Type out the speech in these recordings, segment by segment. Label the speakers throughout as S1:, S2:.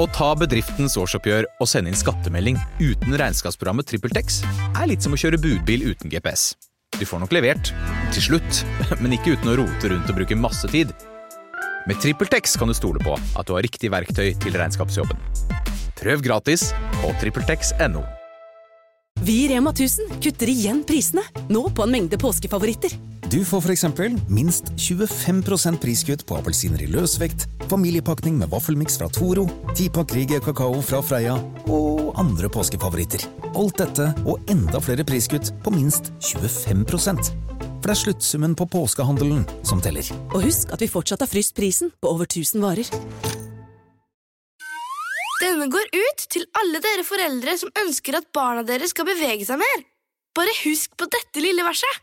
S1: Å ta bedriftens årsoppgjør og sende inn skattemelding uten regnskapsprogrammet TrippelTex er litt som å kjøre budbil uten GPS. Du får nok levert, til slutt, men ikke uten å rote rundt og bruke masse tid. Med TrippelTex kan du stole på at du har riktig verktøy til regnskapsjobben. Prøv gratis på TrippelTex.no.
S2: Vi i Rema 1000 kutter igjen prisene, nå på en mengde påskefavoritter.
S3: Du får f.eks. minst 25 priskutt på appelsiner i løsvekt, familiepakning med vaffelmiks fra Toro, tipakk Rieger kakao fra Freia og andre påskefavoritter. Alt dette og enda flere priskutt på minst 25 For det er sluttsummen på påskehandelen som teller.
S2: Og husk at vi fortsatt har fryst prisen på over 1000 varer.
S4: Denne går ut til alle dere foreldre som ønsker at barna deres skal bevege seg mer. Bare husk på dette lille verset.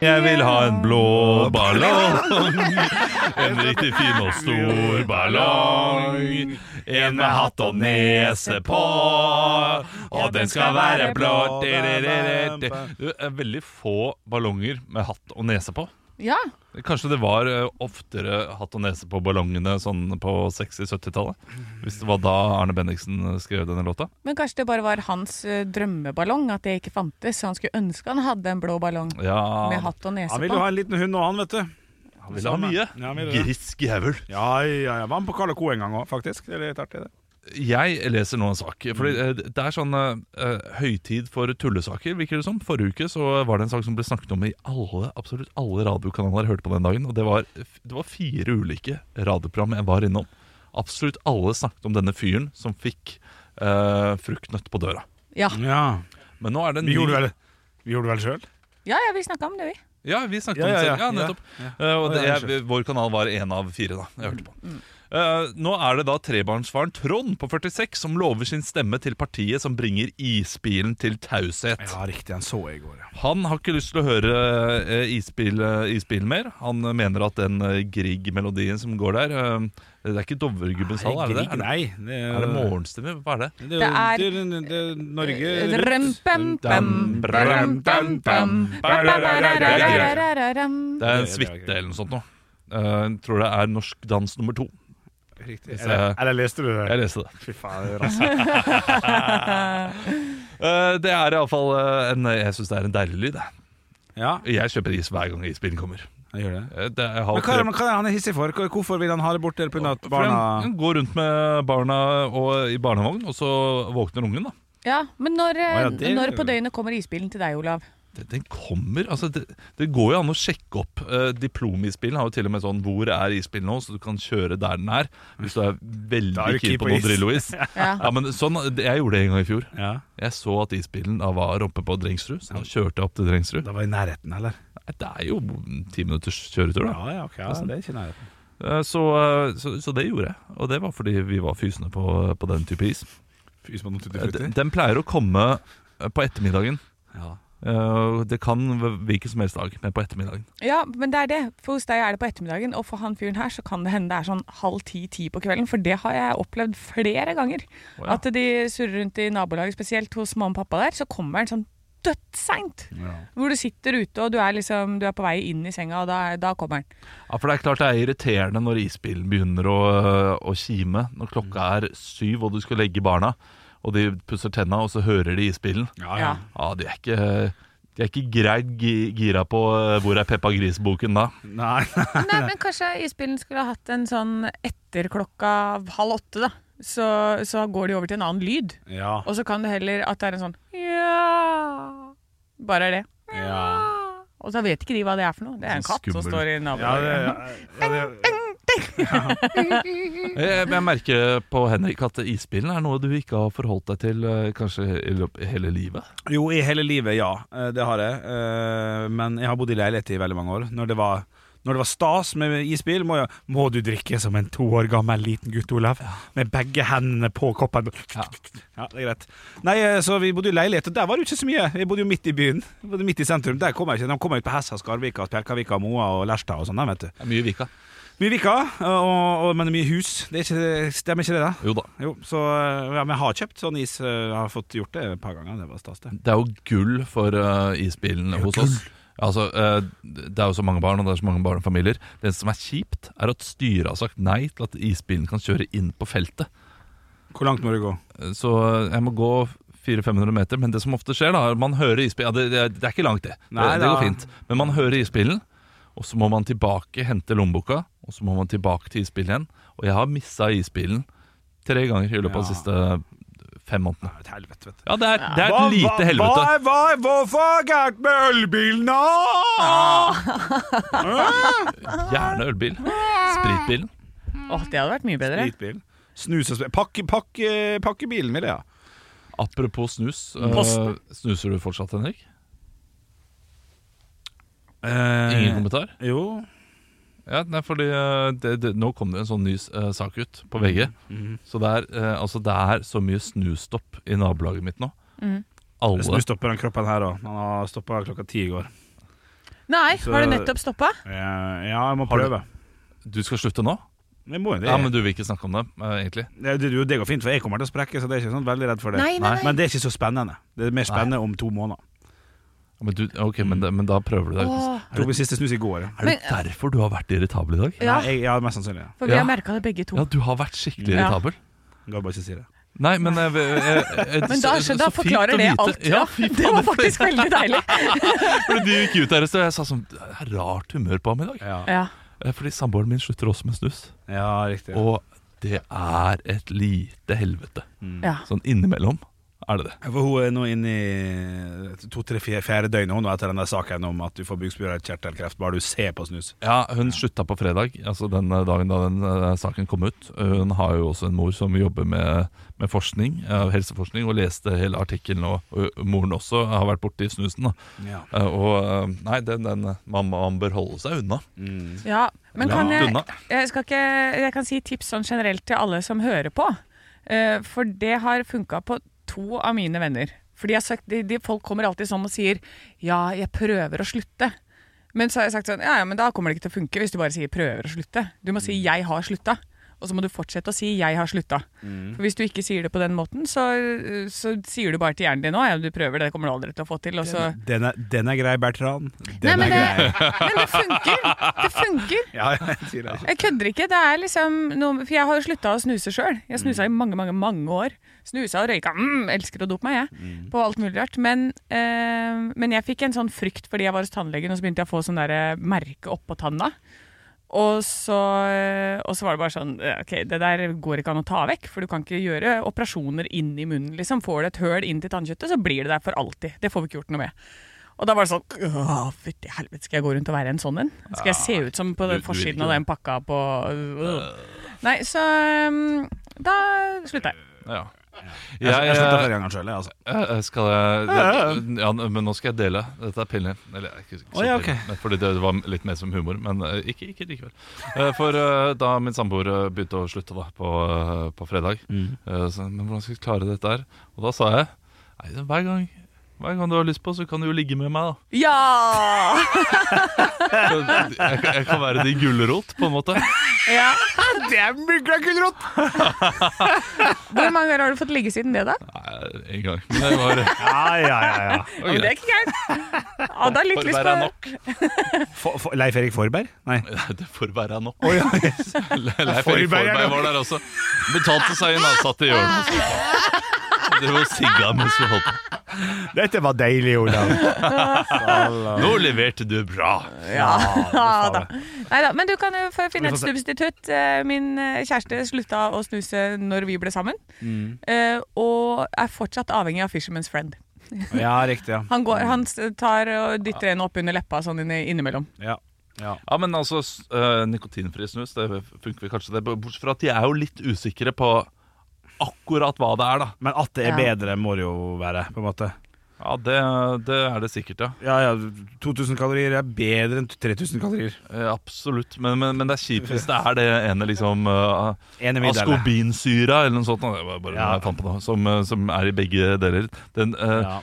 S5: Jeg vil ha en blå ballong, en riktig fin og stor ballong. En med hatt og nese på, og den skal være blå. Det er veldig få ballonger med hatt og nese på.
S6: Ja.
S5: Kanskje det var eh, oftere hatt og nese på ballongene sånn på 60-70-tallet? Hvis det var da Arne Bendiksen skrev denne låta?
S6: Men kanskje det bare var hans eh, drømmeballong, at det ikke fantes. Så han skulle ønske han hadde en blå ballong
S5: Ja,
S6: med hatt og nese på.
S7: Han ville jo ha en liten hund og han, vet du.
S5: han ville ha mye.
S7: Ja, han ville det.
S5: Grisk jævel.
S7: Ja, ja, ja. Var han på Karl Co. en gang òg, faktisk. Det er litt artig, det. Mm.
S5: Jeg leser nå en sak. Fordi eh, Det er sånn eh, høytid for tullesaker, virker det som. Forrige uke så var det en sak som ble snakket om i alle, absolutt alle radiokanaler jeg hørte på den dagen. Og det var, det var fire ulike radioprogram jeg var innom. Absolutt alle snakket om denne fyren som fikk eh, fruktnøtt på døra.
S6: Ja.
S7: Ja.
S5: Men nå er det en
S7: Vi gjorde
S5: ny
S7: vel vi gjorde det vel sjøl?
S6: ja, ja, vi snakka om det, vi.
S5: Ja, vi snakket om
S7: Ja,
S5: det
S7: ja,
S5: selv.
S7: ja.
S5: Ja, nettopp. Eh, og det, jeg, vår kanal var én av fire, da. Jeg hørte på. Eh, nå er det da trebarnsfaren Trond på 46 som lover sin stemme til partiet som bringer isbilen til taushet.
S7: Ja, riktig. Han så jeg i går, ja.
S5: Han har ikke lyst til å høre eh, isbil, eh, isbil mer. Han eh, mener at den eh, Grieg-melodien som går der eh, Det er ikke Dovregubbens hall, er det det? Er det,
S7: Nei. Det
S5: er det morgenstemme? Hva er det?
S7: Det
S6: er-
S7: er det, det, Norge
S6: Rømpem-pem, rømpem-pem.
S5: Det er en suite eller noe sånt noe. Eh, jeg tror det er Norsk dans nummer to.
S7: Riktig.
S5: Hvis
S7: Eller,
S5: jeg-
S7: eller leste du det?
S5: Jeg leste det.
S7: Fy faen, det er raskt.
S5: Eh, det er iallfall uh, en Jeg syns det er en deilig lyd. jeg.
S7: Ja,
S5: Jeg kjøper is hver gang isbilen kommer.
S7: jeg gjør det.
S5: Eh, det, jeg har
S7: Men hva, er det- men hva er det han er hissig for? Hva- Hvorfor vil han ha det bort til pga. at
S5: For
S7: barna
S5: han- han går rundt med barna og, i barnevogn, og så våkner ungen, da.
S6: Ja, men når, eh,
S7: Å, ja, det-
S6: når på døgnet kommer isbilen til deg, Olav?
S5: Den, den kommer altså det, det går jo an å sjekke opp. Eh, Diplomisbilen har jo til og med sånn 'Hvor er isbilen nå?' så du kan kjøre der den er. Hvis du er
S7: Da er
S5: veldig keen
S7: du keen
S5: på
S7: på
S5: noe
S7: is.
S5: Drillo-is.
S6: Ja.
S5: Ja, men sånn, jeg gjorde det en gang i fjor.
S7: Ja,
S5: Jeg så at isbilen da var oppe på Drengsrud, så da kjørte jeg opp til Drengsrud.
S7: Da var i nærheten, eller?
S5: Nei, Det er jo ti minutters kjøretur, da.
S7: Ja, ja, ok. Ja, det er ikke i nærheten.
S5: Eh, Så, eh, så, så det gjorde jeg. Og det var fordi vi var fysende på, på den type is.
S7: Fys på noen tutti
S5: Eh, de-
S7: frutti.
S5: Den pleier å komme eh, på ettermiddagen.
S7: Ja.
S5: Eh, Det kan v- hvilken som helst dag, men på ettermiddagen.
S6: Ja, men det er det. For hos deg er det på ettermiddagen, og for han fyren her så kan det hende det er sånn halv ti-ti på kvelden, for det har jeg opplevd flere ganger.
S5: ja.
S6: At de surrer rundt i nabolaget, spesielt hos mamma og pappa der, så kommer den sånn dødsseint. Hvor du sitter ute, og du er liksom Du er på vei inn i senga, og da, er- da kommer den.
S5: Ja, For det er klart det er irriterende når isbilen begynner å, å kime. Når klokka
S7: Mm.
S5: er syv og du skal legge barna, og de pusser tenna, og så hører de isbilen.
S6: Ja.
S7: Ja, ja.
S5: Ja, de er ikke, de er ikke greit gi- gira på eh, hvor er Peppa Gris-boken da.
S7: Nei,
S6: Nei, men kanskje isbilen skulle ha hatt en sånn etter klokka halv åtte, da. Så, så går de over til en annen lyd.
S7: ja.
S6: Og så kan det heller at det er en sånn Ja. Bare er det.
S7: ja.
S6: Og så vet ikke de hva det er for noe. Det er en
S5: Så
S6: katt som
S5: skummel.
S6: står i
S7: ja, det,
S6: nabolaget.
S7: ja, det,
S5: Jeg, Eh, jeg merker på Henrik at isbilen er noe du ikke har forholdt deg til eh, kanskje i løpet- hele livet.
S7: jo, i hele livet, ja. Eh, Det har jeg. Eh, Men jeg har bodd i leilighet i veldig mange år. Når det var, når det var stas med isbil, må, jeg, må du drikke som en to år gammel liten gutt, Olav. Med begge hendene på koppen.
S5: Ja.
S7: Ja, det er greit. Nei, eh, så vi bodde i leilighet, og der var det jo ikke så mye. Vi bodde jo midt i byen. Vi bodde midt i sentrum. Der kom jeg ikke. De kom ut på Hessa, Skarvika, Spjelkavika, Moa og Lerstad og sånn, da, vet du.
S5: Det er mye vika.
S7: Mye viker, og, og, men mye hus. Det er ikke, stemmer ikke det, da?
S5: Jo da.
S7: Jo, så ja, men jeg har kjøpt sånn is. eh, Jeg har fått gjort det et par ganger. Det var stas, det.
S5: Det er jo gull for eh, isbilen hos oss. Altså, eh, det er jo så mange barn, og det er så mange barnefamilier. Det som er kjipt, er at styret har sagt nei til at isbilen kan kjøre inn på feltet.
S7: Hvor langt må du gå?
S5: Eh, Så jeg må gå 400-500 meter, men det som ofte skjer, da, er at man hører isbilen ja, det, det, er- det er ikke langt, det.
S7: Nei,
S5: det. Det
S7: da.
S5: går fint. Men man hører isbilen, og så må man tilbake, hente lommeboka, og så må man tilbake til isbilen igjen. Og jeg har missa isbilen tre ganger i løpet av de siste fem månedene.
S7: Et helvete, vet du.
S5: Ja, det er, det er et lite helvete.
S7: Hva, hva, hva, hvorfor er gærent med ølbilen nå?
S5: Ah, Gjerne ølbil. Spritbilen.
S6: Åh, det hadde vært mye bedre.
S7: Spritbil. Snus og sprit. Pakke, pakke, pakke eh, bilen med det, ja.
S5: Apropos snus. eh,
S7: Posten.
S5: snuser du fortsatt, Henrik? Ingen
S7: Eh,
S5: kommentar?
S7: jo.
S5: Ja, nei, fordi eh, det, det, Nå kom det en sånn ny eh, sak ut på VG. Så det er, eh, altså, det er så mye snustopp i nabolaget mitt nå.
S6: Mm.
S5: Alle
S7: Snu stopper den kroppen her òg. Han har stoppa klokka ti i går.
S6: Nei,
S7: Så-
S6: har du nettopp stoppa?
S7: Eh, Ja, jeg må
S5: Har du-
S7: prøve.
S5: Du skal slutte nå?
S7: Jeg må jo det.
S5: Ja, Men du vil ikke snakke om det, eh, egentlig?
S7: Det, det, det går fint, for jeg kommer til å sprekke, så det er ikke sånn veldig redd for det.
S6: Nei, nei, nei.
S7: Men det er ikke så spennende. Det er mer spennende om to måneder.
S5: Ja, Men, du, ok, men, det, men da prøver du deg.
S6: Åh,
S7: Jeg tok min siste snus i går. Ja,
S5: Er det derfor du har vært irritabel i dag?
S6: ja,
S7: Nei, jeg, ja mest sannsynlig. Ja.
S6: for vi har
S5: Ja.
S6: merka det begge to.
S5: Ja, du har vært skikkelig
S6: Ja.
S5: irritabel.
S7: Jeg Ga bare ikke si det.
S5: Nei, men eh, eh, eh,
S6: Men da,
S5: så- så-
S6: da
S5: så fint å
S6: forklarer det
S5: vite.
S6: alt. Ja,
S5: fy faen,
S6: det var
S5: det-
S6: faktisk veldig deilig.
S5: Fordi de gikk ut der et sted, og jeg sa sånn Det er rart humør på ham i dag.
S7: Ja,
S6: Ja.
S5: Eh, Fordi samboeren min slutter også med snus.
S7: ja riktig.
S5: Og det er et lite helvete.
S6: Ja.
S5: Sånn innimellom er det det.
S7: For hun er nå inne eh, i to-tre-fjerde døgnet hun nå etter den der saken om at du får bukspyttkjertelkreft bare du ser på snus.
S5: Ja, Hun slutta på fredag, altså den eh, dagen da den eh, saken kom ut. Hun har jo også en mor som jobber med, med forskning, eh, helseforskning, og leste hele artikkelen. Og, og moren også har vært borti snusen. da
S7: Ja.
S5: Eh, Og eh, nei, den, den mammaen bør holde seg unna.
S6: ja. Men kan
S5: Langt
S6: jeg,
S5: unna.
S6: jeg, skal ikke, jeg kan si tips sånn generelt til alle som hører på. Eh, For det har funka på to av mine venner. For de har sagt, de, de, folk kommer alltid sånn og sier 'ja, jeg prøver å slutte'. Men så har jeg sagt sånn 'ja, ja, men da kommer det ikke til å funke hvis du bare sier 'prøver å slutte'. Du må si
S7: Mm.
S6: 'jeg har slutta'. Og så må du fortsette å si 'jeg har slutta'.
S7: Mm.
S6: For hvis du ikke sier det på den måten, så, så sier du bare til hjernen din 'å ja, du prøver, det kommer du aldri til å få til'. Og så
S7: Den er, den er grei, Bertrand.
S6: Nei,
S7: Den
S6: men
S7: er grei.
S6: det, men det funker! Det funker!
S7: Ja, jeg sier det.
S6: Jeg kødder ikke. Det er liksom noe, For jeg har jo slutta å snuse sjøl. Jeg snusa i mange, mange mange år. Snusa og røyka. Mm, elsker å dope meg, jeg. På alt mulig rart. Men, eh, men jeg fikk en sånn frykt fordi jeg var hos tannlegen, og så begynte jeg å få sånn derre merke oppå tanna. Og så, og så var det bare sånn eh, Ok, det der går ikke an å ta vekk, for du kan ikke gjøre operasjoner inn i munnen, liksom. Får du et høl inn til tannkjøttet, så blir det der for alltid. Det får vi ikke gjort noe med. Og da var det sånn Åh, fytti helvete, skal jeg gå rundt og være en sånn en? Skal jeg se ut som på
S5: du-
S6: den
S5: du vil
S6: forsiden
S5: ikke
S6: av
S5: det. Øh.
S6: den pakka på øh, Nei, så um, Da slutta jeg.
S5: Ja.
S7: Jeg, jeg, jeg slutta
S5: eh,
S7: flere ganger sjøl, jeg, altså.
S5: Eh, eh, Skal jeg det- ja, Men nå skal jeg dele. Dette er pillen. Eller ikke, ikke så
S7: Å, ja,
S5: pillen,
S7: ok.
S5: men fordi det var litt mer som humor. Men eh, ikke, ikke likevel. Eh, For eh, da min samboer eh, begynte å slutte da på, eh, på fredag eh, så, Men hvordan skal jeg klare dette her? Og da sa jeg Nei, hver gang hver gang du har lyst på, så kan du jo ligge med meg, da.
S6: Ja!
S5: Jeg, jeg, jeg kan være din gulrot, på en måte.
S6: ja!
S7: Det er mygla gulrot!
S6: Hvor mange ganger har du fått ligge siden det, da?
S5: Nei, en gang. Men det var,
S7: Ja, ja, ja.
S5: det
S6: Ja,
S5: var
S6: men det
S5: greit.
S6: er ikke gærent. Hadde litt
S5: For
S6: lyst
S5: være
S6: på
S5: nok.
S7: For, for, Leif Erik Forberg? Nei.
S5: Det får være nok.
S7: Å, ja.
S5: Leif
S7: Forberg er
S5: Erik Forberg
S7: nok.
S5: var der også. Betalte seg inn, han satt i hjørnet. og Drev og sigga mens vi holdt på.
S7: Dette var deilig, Olav.
S5: Nå leverte du bra.
S6: Ja da. Neida, men du kan jo få finne
S7: Vi
S6: et
S7: får se.
S6: substitutt. Eh, Min eh, kjæreste slutta å snuse når vi ble sammen, eh, og er fortsatt avhengig av Fisherman's Friend.
S7: Ja, riktig. Ja.
S6: Han, går, han s- tar og dytter en opp under leppa sånn inni- innimellom.
S7: Ja. Ja.
S5: Ja, men altså, s- eh, nikotinfri snus, det funker vel kanskje det. Bortsett fra at de er jo litt usikre på akkurat hva det er, da.
S7: Men at det er
S6: Ja.
S7: bedre, må det jo være, på en måte.
S5: Ja, det, det er det sikkert, ja.
S7: Ja, ja, 2000 kalorier er bedre enn 3000 kalorier.
S5: Eh, Absolutt. Men, men, men det er kjipt hvis det er det ene liksom eh,
S7: Enig med deg.
S5: Askobinsyra eller noe sånt, nå, det var bare
S7: Ja.
S5: noe jeg fant på nå, som, eh, som er i begge deler. Den, eh,
S7: Ja.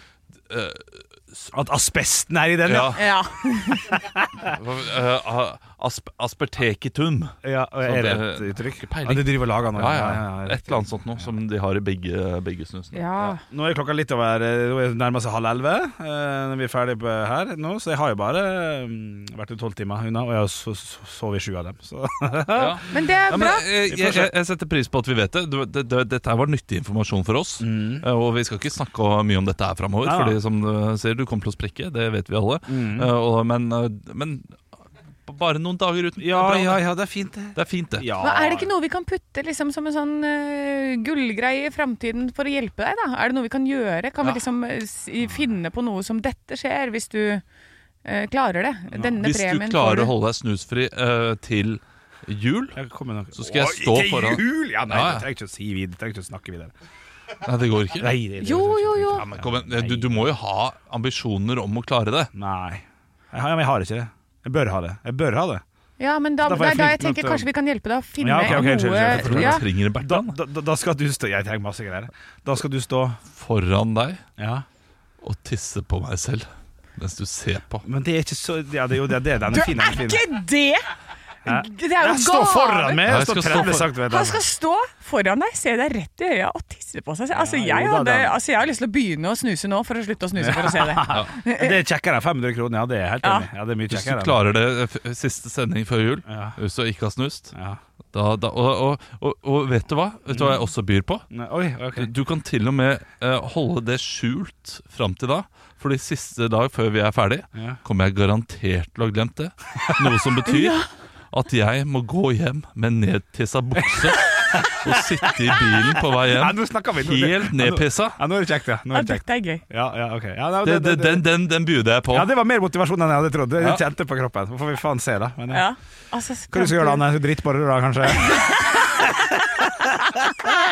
S7: At asbesten er i den, ja.
S5: ja.
S6: Ja.
S5: Hva- eh, a- Asp Aspertekitum.
S7: Ja, og
S5: Så
S7: er det
S5: det-
S7: et uttrykk?
S5: Ikke peiling.
S7: Ja, det driver og lager nå.
S5: Ja, ja, Et eller annet sånt noe som de har i begge, begge snusene.
S6: Ja.
S7: Nå er klokka litt over eh, Nå er det nærmest halv elleve eh, når vi er ferdig på- her nå, så jeg har jo bare mm, vært i tolv timer unna, og jeg har so- so- sovet i sju av dem. Så
S5: Ja.
S6: Men det
S5: Ja,
S6: er
S5: men,
S6: bra.
S5: eh, jeg, jeg, jeg setter pris på at vi vet det. Du- det, det dette her var nyttig informasjon for oss. Eh, Og vi skal ikke snakke mye om dette her framover,
S7: Mm. Nei, Mm. nei.
S5: Fordi som du ser, du kommer til å sprekke. Det vet vi alle. Eh, og, men, eh, men bare noen dager uten.
S7: Ja,
S5: det er bra,
S7: ja,
S5: det.
S7: ja, det er fint, det.
S5: Det er fint, det.
S7: Ja.
S6: Hva, er det ikke noe vi kan putte liksom, som en sånn eh, gullgreie i framtiden for å hjelpe deg? da? Er det noe vi kan gjøre? Kan
S5: Ja.
S6: vi liksom eh, si- finne på noe som dette skjer, hvis du eh, klarer det? Denne
S5: Hvis du
S6: premien
S5: klarer
S6: får
S5: å holde deg snusfri eh, til jul
S7: Jeg kommer nok-
S5: Så skal jeg
S7: Oi,
S5: stå
S7: til
S5: foran-
S7: jul! Ja, nei,
S5: Ja, ja.
S7: jeg trenger ikke å si videre. Jeg trenger ikke å snakke videre.
S5: Nei, det går ikke.
S7: Nei, det- det-
S6: Jo,
S7: det- det-
S6: jo, jo.
S7: Ja, men
S5: Kom igjen, du, du må jo ha ambisjoner om å klare det.
S7: Nei. Jeg har, men jeg har ikke det. Jeg bør ha det. Jeg bør ha det.
S6: Ja, men da,
S7: Da får
S6: det
S7: jeg
S6: er da
S7: flink
S6: jeg tenker
S7: nok til å-
S6: kanskje vi kan hjelpe deg å finne
S7: Ja, ok, ok, unnskyld, unnskyld, jeg
S6: noe
S7: forstår.
S6: ja.
S5: Jeg trenger
S7: Da,
S5: Bertrand
S7: da, da- da skal du stå Jeg trenger masse greier. Da skal du stå
S5: foran deg
S7: Ja.
S5: og tisse på meg selv mens du ser på.
S7: Men det er ikke så Ja, det er jo det. det er den
S6: Du
S7: er
S6: er
S7: fin. Den er fin.
S6: ikke det! Det er jo
S7: Jeg står foran
S6: gave!
S7: meg!
S5: Ja,
S7: Jeg
S5: jeg
S7: står
S5: skal stå
S7: 30
S5: for-
S7: cm
S6: Han skal stå foran deg, se deg rett i øya og tisse på seg. selv. Altså,
S7: Ja,
S6: jeg,
S7: jo da,
S6: hadde,
S7: det-
S6: altså, jeg har lyst til å begynne å snuse nå for å slutte å snuse for å se det.
S7: Det er kjekkere enn 500 kroner, ja. Det er jeg helt
S6: Ja.
S7: enig. i. Ja, det er
S5: Hvis
S7: mye
S5: du
S7: kjekkere. enn-
S5: klarer det eh, f- siste sending før jul,
S7: Ja.
S5: hvis du ikke har snust
S7: Ja.
S5: da, da, og, og, og, og vet du hva? Vet du hva jeg også byr på?
S7: Nei, Oi, ok.
S5: Du kan til og med eh, holde det skjult fram til da. For de siste dag før vi er ferdig,
S7: Ja.
S5: kommer jeg garantert til å ha glemt det. Noe som betyr at jeg må gå hjem med nedtissa bukse og sitte i bilen på vei
S7: Nei,
S5: hjem
S7: nå snakker vi nå-
S5: helt nedpissa.
S7: Ja, nå er det kjekt, ja. Nå
S6: Ja,
S7: er det kjekt.
S6: dette er gøy.
S7: Ja, ja, ok. Ja, nei,
S5: Det, det, den, den, den byr jeg på.
S7: Ja, det var mer motivasjon enn jeg hadde trodd. Jeg
S5: Ja.
S7: kjente på kroppen. Nå får vi faen se, da. Men, ja.
S6: Ja. Altså,
S7: Hva du skal gjøre da, Anne? Dritt på det da, kanskje?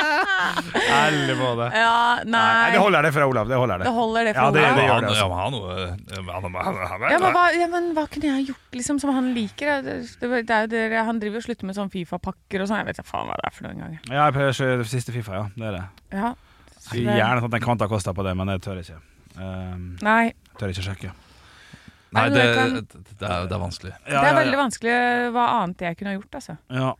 S7: Ærlig på det.
S6: Ja,
S7: Nei, det
S6: nei.
S7: holder det fra Olav. Det holder det.
S6: Det holder det for
S7: Ja, det-
S6: Olav.
S7: det gjør
S5: Han-
S7: altså.
S5: ja, men han, eh, han- han- han- han-
S6: Ja men, hva, ja, men hva kunne jeg gjort liksom, som han liker? da? Det, det, det er jo det, han driver og slutter med sånn Fifa-pakker og sånn. Jeg vet ikke faen hva det er for noen ganger.
S7: Ja, jeg prøver ikke det siste Fifa, ja. Det er det.
S6: Ja. Så
S7: Skulle
S6: det-
S7: gjerne tatt en Kvanta Costa på det, men jeg tør ikke. Ehm,
S6: Nei.
S7: tør ikke sjekke.
S5: Nei,
S6: Nei,
S5: det,
S6: men
S5: det, det, er, det er vanskelig.
S7: Ja,
S6: det er
S7: ja,
S6: veldig vanskelig hva annet jeg kunne ha gjort, altså.
S7: Ja.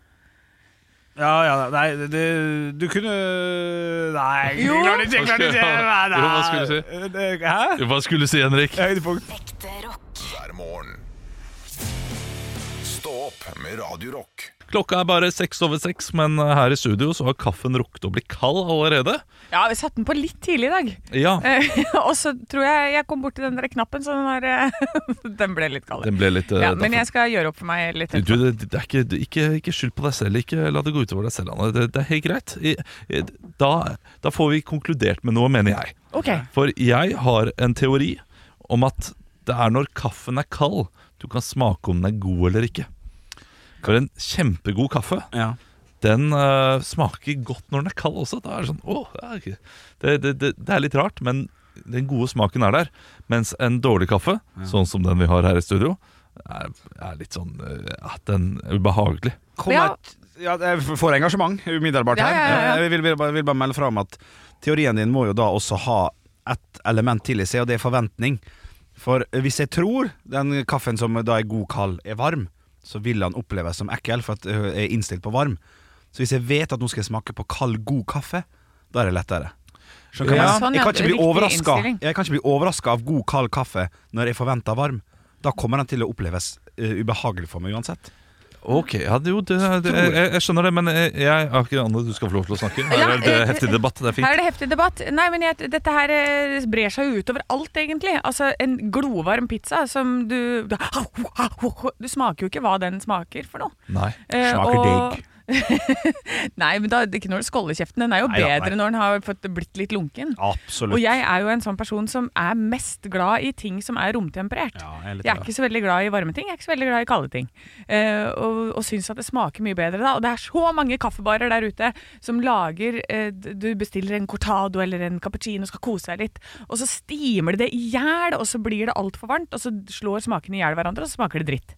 S7: Ja, ja, nei, det, det- du kunne Nei, jeg
S6: Jo.
S7: klarer ikke, jeg klarer ikke! Nei, nei.
S5: Jo, hva skulle du
S7: Det- Hæ?
S5: Hva skulle du si, Henrik?
S7: Høydepunkt.
S8: hver morgen. Stå opp med Radio Rock.
S5: Klokka er bare seks over seks, men eh, her i studio så har kaffen rukket å bli kald allerede.
S6: Ja, vi satte den på litt tidlig i dag.
S5: Ja,
S6: Eh, og så tror jeg jeg kom borti den der knappen, så den, der, eh, den ble litt kald.
S5: den ble litt eh,
S6: Ja, men
S5: daffet.
S6: jeg skal gjøre opp for meg litt.
S5: Du, det, det er ikke, du- ikke, ikke skyld på deg selv. Ikke la det gå utover deg selv, Anne. Det, det er helt greit. I- i- Da, da får vi konkludert med noe, mener jeg.
S6: Ok,
S5: For jeg har en teori om at det er når kaffen er kald, du kan smake om den er god eller ikke. For en kjempegod kaffe,
S7: Ja.
S5: den eh, smaker godt når den er kald også. Da er det sånn, åh, det er ikke- det, det, det, det er litt rart, men den gode smaken er der. Mens en dårlig kaffe, sånn som den vi har her i studio, er, er litt sånn eh, at den er ubehagelig.
S7: Kom
S6: Ja.
S7: et- ja, jeg får engasjement umiddelbart
S6: Ja,
S7: her. Eh,
S6: ja, ja, ja.
S7: Jeg vil, vil, bare, vil bare melde fra om at teorien din må jo da også ha et element til i seg, og det er forventning. For hvis jeg tror den kaffen som da er god kald, er varm, så vil han oppleves som ekkel, for at ø, jeg er innstilt på varm. Så hvis jeg vet at nå skal jeg smake på kald, god kaffe, da er det lettere. Skjønner
S6: Ja,
S7: du hva jeg mener?
S6: sånn,
S7: Jeg
S6: ja.
S7: kan ikke bli
S6: Riktig
S7: overraska
S6: innstilling.
S7: Jeg kan ikke bli overraska av god, kald kaffe når jeg forventer varm. Da kommer den til å oppleves ø, ubehagelig for meg uansett.
S5: Ok, ja, det, jo, det, det, jeg, jeg- jeg skjønner det, men eh, jeg, jeg har ikke Anne, du skal få lov til å snakke. Her
S6: Ja,
S5: er det
S6: eh,
S5: heftig debatt, det er
S6: Her
S5: fint.
S6: er det heftig debatt. Nei, men jeg, Dette her eh, brer seg jo utover alt, egentlig. Altså, En glovarm pizza som du Du, du smaker jo ikke hva den smaker for noe.
S5: Nei.
S6: Eh,
S7: Smaker
S6: og-
S7: digg.
S6: Nei, men da, ikke når det skåller i kjeften. Den er jo
S7: Nei da,
S6: bedre
S7: nei.
S6: når den har fått blitt litt lunken.
S7: Absolutt.
S6: Og jeg er jo en sånn person som er mest glad i ting som er romtemperert.
S7: Ja, jeg er litt
S6: Jeg er ikke så veldig glad i varme ting, jeg er ikke så veldig glad i kalde ting. Eh, og og syns at det smaker mye bedre da. Og det er så mange kaffebarer der ute som lager eh, d- Du bestiller en cortado eller en cappuccino og skal kose deg litt, og så stimer det det i hjel, og så blir det altfor varmt, og så slår smakene i hjel hverandre, og så smaker det dritt.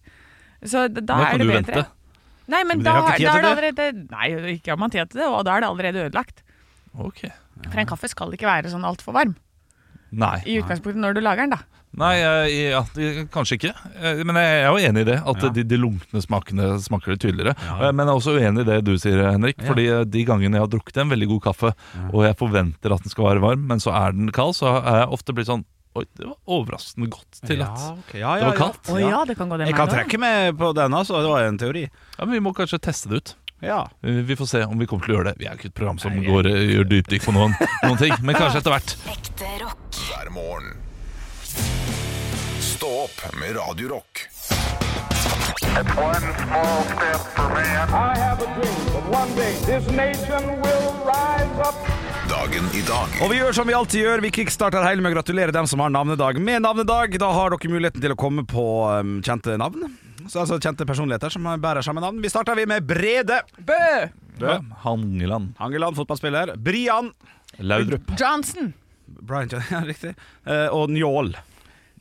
S6: Så d- da
S5: Nå
S6: er
S5: kan
S6: det
S5: du
S6: bedre.
S5: vente.
S6: Nei, men,
S7: Men
S6: da,
S7: dere har ikke tid
S6: da er det
S7: til
S6: allerede Nei, ikke har man tid til det, og da er det allerede ødelagt.
S5: Ok.
S6: eh, For en kaffe skal ikke være sånn altfor varm
S5: Nei.
S6: i utgangspunktet når du lager den, da.
S5: Nei, eh, ja, de- kanskje ikke. Eh, Men jeg er jo enig i det. At
S7: Ja.
S5: de, de lunkne smakene smaker litt tydeligere.
S7: Ja.
S5: Eh, Men jeg er også uenig i det du sier, Henrik. Fordi eh, de gangene jeg har drukket en veldig god kaffe, og jeg forventer at den skal være varm, men så er den kald, så er jeg ofte blitt sånn Oi, det var overraskende godt til at
S7: Ja, ok. ja,
S5: det
S7: ja,
S5: var
S7: ja.
S5: kaldt.
S6: Å ja, det kan gå det
S7: Jeg
S6: meg
S7: kan
S6: da.
S7: trekke meg på den, altså. Det var jo en teori.
S5: Ja, men Vi må kanskje teste det ut.
S7: Ja.
S5: Eh, Vi får se om vi kommer til å gjøre det. Vi er jo ikke et program som går, eh, gjør dypdykk på noen, noen ting, men kanskje etter hvert.
S9: Ekte rock.
S8: hver morgen. Stå opp med Radio Rock.
S10: I have a dream that one day this nation will rise up.
S8: Dagen i dag
S7: Og vi gjør som vi alltid gjør, vi kickstarter hele med å gratulere dem som har navnedag med navnedag. Da har dere muligheten til å komme på um, kjente navn. Så altså Kjente personligheter som bærer samme navn. Vi starter vi med Brede.
S6: Bø!
S5: Ja, Hangeland.
S7: Hangeland, fotballspiller. Brian.
S5: Laudrup.
S6: Johnson.
S7: Brian Jan- ja, riktig. Eh, og Njål.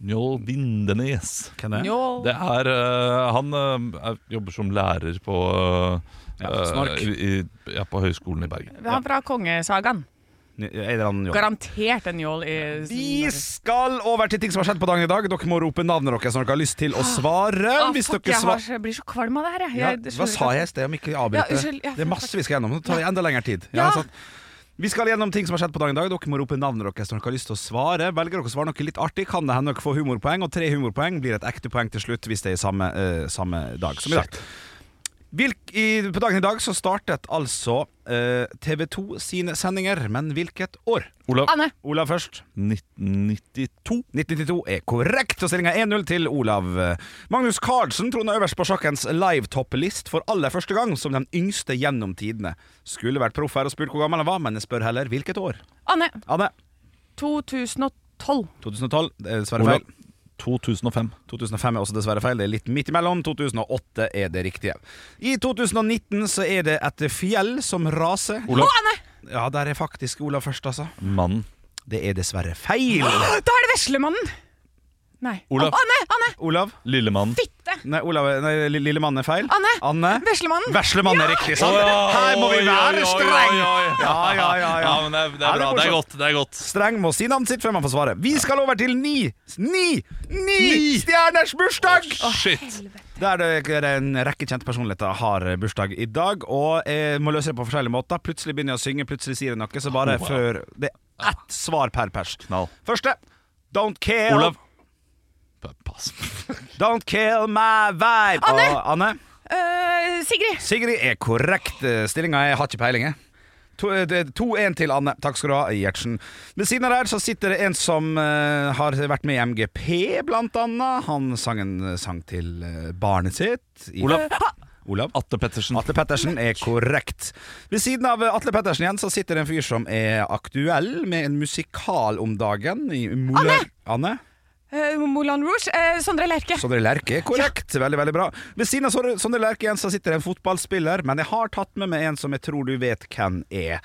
S5: Njål Vindenes.
S7: Hvem er det?
S6: Njål.
S5: Det er eh, Han eh, er- jobber som lærer på eh,
S7: Ja, på Snork.
S5: eh, i, i- ja, på Høgskolen i Bergen.
S6: Han fra Kongesagaen.
S7: Nj- Er det han Njål?
S6: Garantert en njål i
S7: Vi skal over til ting som har skjedd på dagen i dag. Dere må rope navnet deres når dere har lyst til å svare.
S6: Å,
S7: Hvis
S6: Ah. fuck,
S7: dere
S6: jeg, har,
S7: svar...
S6: jeg blir så kvalm av det her. Jeg.
S7: ja,
S6: Jeg- det
S7: hva
S6: skjønner
S7: sa
S6: ikke.
S7: jeg i sted? Om ikke jeg
S6: Ja,
S7: avbryter.
S6: unnskyld, ja,
S7: det er masse vi skal gjennom. Nå tar det enda lengre tid.
S6: Ja.
S7: sant. Vi skal gjennom ting som har skjedd på dagen i dag. Dere må rope navnet deres når dere har lyst til å svare. Velger dere å svare noe litt artig, kan det hende dere får humorpoeng, og tre humorpoeng blir et ekte poeng til slutt hvis det er i samme, eh, samme dag som i dag. Hvilk, i, på dagen i dag så startet altså TV 2 sine sendinger, men hvilket år?
S5: Olav,
S6: Anne.
S7: Olav først.
S5: 1992.
S7: 1992 er korrekt, og stillinga 1-0 til Olav. Magnus Carlsen troner øverst på sjakkens live-topplist for aller første gang som den yngste gjennom tidene. Skulle vært proff her og spurt hvor gammel han var, men jeg spør heller hvilket år.
S6: Anne.
S7: Anne,
S6: 2012.
S7: 2012. Det er dessverre
S5: Olav,
S7: feil.
S5: 2005.
S7: 2005 er også dessverre feil. Det er litt midt imellom. 2008 er det riktige. I 2019 så er det et fjell som raser.
S5: Olav,
S7: Ja, der er faktisk Olav først, altså.
S5: mannen.
S7: Det er dessverre feil.
S6: Da er det Veslemannen! Nei.
S5: Olav.
S6: Å, Anne! Anne!
S7: Olav?
S5: Lillemannen.
S6: Fitte!
S7: Nei, Olav, nei Lille Mann er feil.
S6: Anne.
S7: Anne.
S6: Veslemannen!
S7: Veslemann er riktig,
S5: Sånn,
S7: sant? Her må vi være streng! Ja, ja, ja, ja.
S5: men det er, det er
S7: Ja, det er
S5: bra. Det er
S7: morsomt.
S5: godt. det er godt
S7: Streng må si navnet sitt før man får svare. Vi skal over til ni, ni, ni stjerners bursdag!
S5: Shit.
S7: Der det er en rekke kjente personligheter har bursdag i dag, og eh, må løse det på forskjellige måter. Plutselig begynner jeg å synge, plutselig sier jeg noe, så bare før Det er ett svar per pers.
S5: Knall.
S7: Første. Don't care.
S5: Olav. Pa- Pass.
S7: Don't kill my vibe.
S6: Anne.
S7: Og Anne.
S6: Eh, Sigrid!
S7: Sigrid er korrekt. Stillinga er har ikke peiling, jeg. To- eh, det- 2-1 til Anne. Takk skal du ha, Gjertsen. Ved siden av der så sitter det en som eh, har vært med i MGP, blant annet. Han sang en sang til eh, barnet sitt. I-
S5: Olav.
S7: Olav.
S5: Atte Pettersen.
S7: Atle Pettersen er korrekt. Ved siden av eh, Atle Pettersen igjen så sitter det en fyr som er aktuell med en musikal om dagen. I Anne! Anne?
S6: Eh, Moulin Rouge. Eh, Sondre Lerche.
S7: Sondre Lerche er korrekt. Veldig, veldig bra. Ved siden av Sondre- Sondre Lerche igjen så sitter det en fotballspiller, men jeg har tatt med meg en som jeg tror du vet hvem er.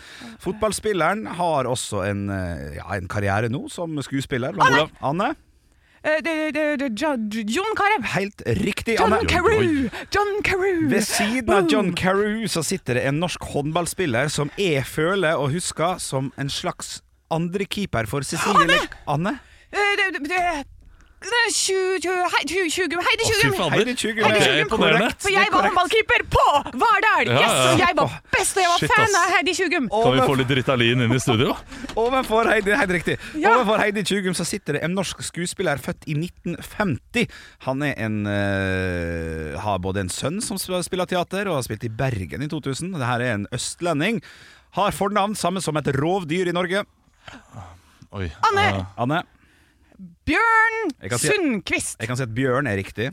S7: Fotballspilleren har også en, eh, ja, en karriere nå som skuespiller. blant annet. Anne?
S6: Eh, det- det- det- John John Carew.
S7: Helt riktig,
S6: John
S7: Anne.
S6: Carew! John Carew!
S7: Ved siden av John Carew så sitter det en norsk håndballspiller som jeg føler og husker som en slags andrekeeper for Cecilie Anne! Anne?
S6: Eh, det- det- det- det er tju- tju- hei- tju- tjugum. Hei, det er
S5: Å, fy
S6: tjugum.
S5: fader.
S7: Heidi Tjugum.
S5: Det
S7: Heidi
S5: er
S7: Tjugum,
S5: imponerende.
S7: korrekt.
S6: For jeg var håndballkeeper på Vardal!
S5: Ja,
S6: Yes,
S5: ja.
S6: og jeg var best, og jeg var
S5: Shit,
S6: fan
S5: ass.
S6: av Heidi
S5: Kan
S6: Tjugum.
S5: vi få litt Ritalin inn i studio?
S7: Ovenfor Heidi, helt riktig.
S6: Ja.
S7: Ovenfor Heidi Tjugum så sitter det en norsk skuespiller født i 1950. Han er en, eh, har både en sønn som sp- spiller teater, og har spilt i Bergen i 2000. Dette er en østlending. Har fornavn samme som et rovdyr i Norge.
S5: Oi.
S6: Anne
S5: eh,
S7: Anne,
S6: Bjørn
S7: Jeg kan si-
S6: Sundquist.
S7: jeg kan si at Bjørn er riktig.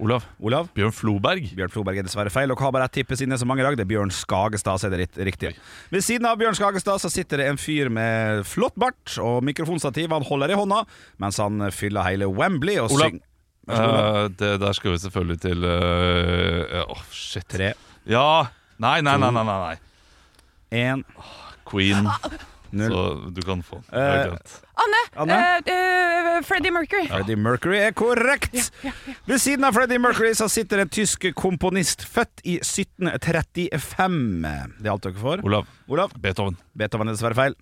S5: Olav.
S7: Olav?
S5: Bjørn Floberg.
S7: Bjørn Floberg er dessverre feil. Dere har bare ett tippe siden det er så mange i dag. Det er Bjørn Skagestad, så er det ritt- riktig. Ved siden av Bjørn Skagestad så sitter det en fyr med flott bart og mikrofonstativ han holder i hånda, mens han fyller hele Wembley og
S5: Olav.
S7: synger Vær så god, Olav.
S5: Eh, det der skal vi selvfølgelig til eh, Åh, shit.
S7: Tre,
S5: Ja. Nei, nei, nei, nei. nei, nei.
S7: én,
S5: Queen.
S7: null.
S5: Så du kan få den.
S7: Eh,
S5: Jeg har glemt.
S6: Anne,
S7: Anne?
S6: eh, eh, Freddie Mercury.
S7: Freddie Mercury er korrekt! Ved siden av Freddie Mercury så sitter en tysk komponist født i 1735. Det er alt dere får.
S5: Olav.
S7: Olav.
S5: Beethoven.
S7: Beethoven er dessverre feil.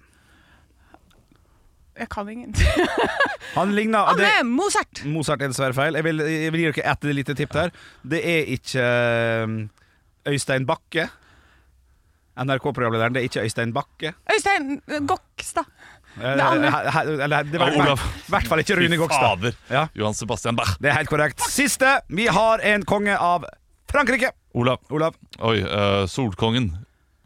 S6: Jeg kan ingen.
S7: Han ligner
S6: Han
S7: det,
S6: er Mozart!
S7: Mozart er dessverre feil. Jeg vil, jeg vil gi dere ett lite tipp der. Det er ikke eh, Øystein Bakke. NRK-programlederen. Det er ikke Øystein Bakke.
S6: Øystein Gokstad.
S7: Eh,
S6: Det er andre.
S7: he- he- Eller det var
S5: Ja, Olav.
S7: i hvert fall ikke Rune Gokstad.
S5: Fader.
S7: Ja.
S5: Johan Sebastian Bach.
S7: Det er helt korrekt. Siste. Vi har en konge av Frankrike.
S5: Olav.
S7: Olav.
S5: Oi, eh, Solkongen.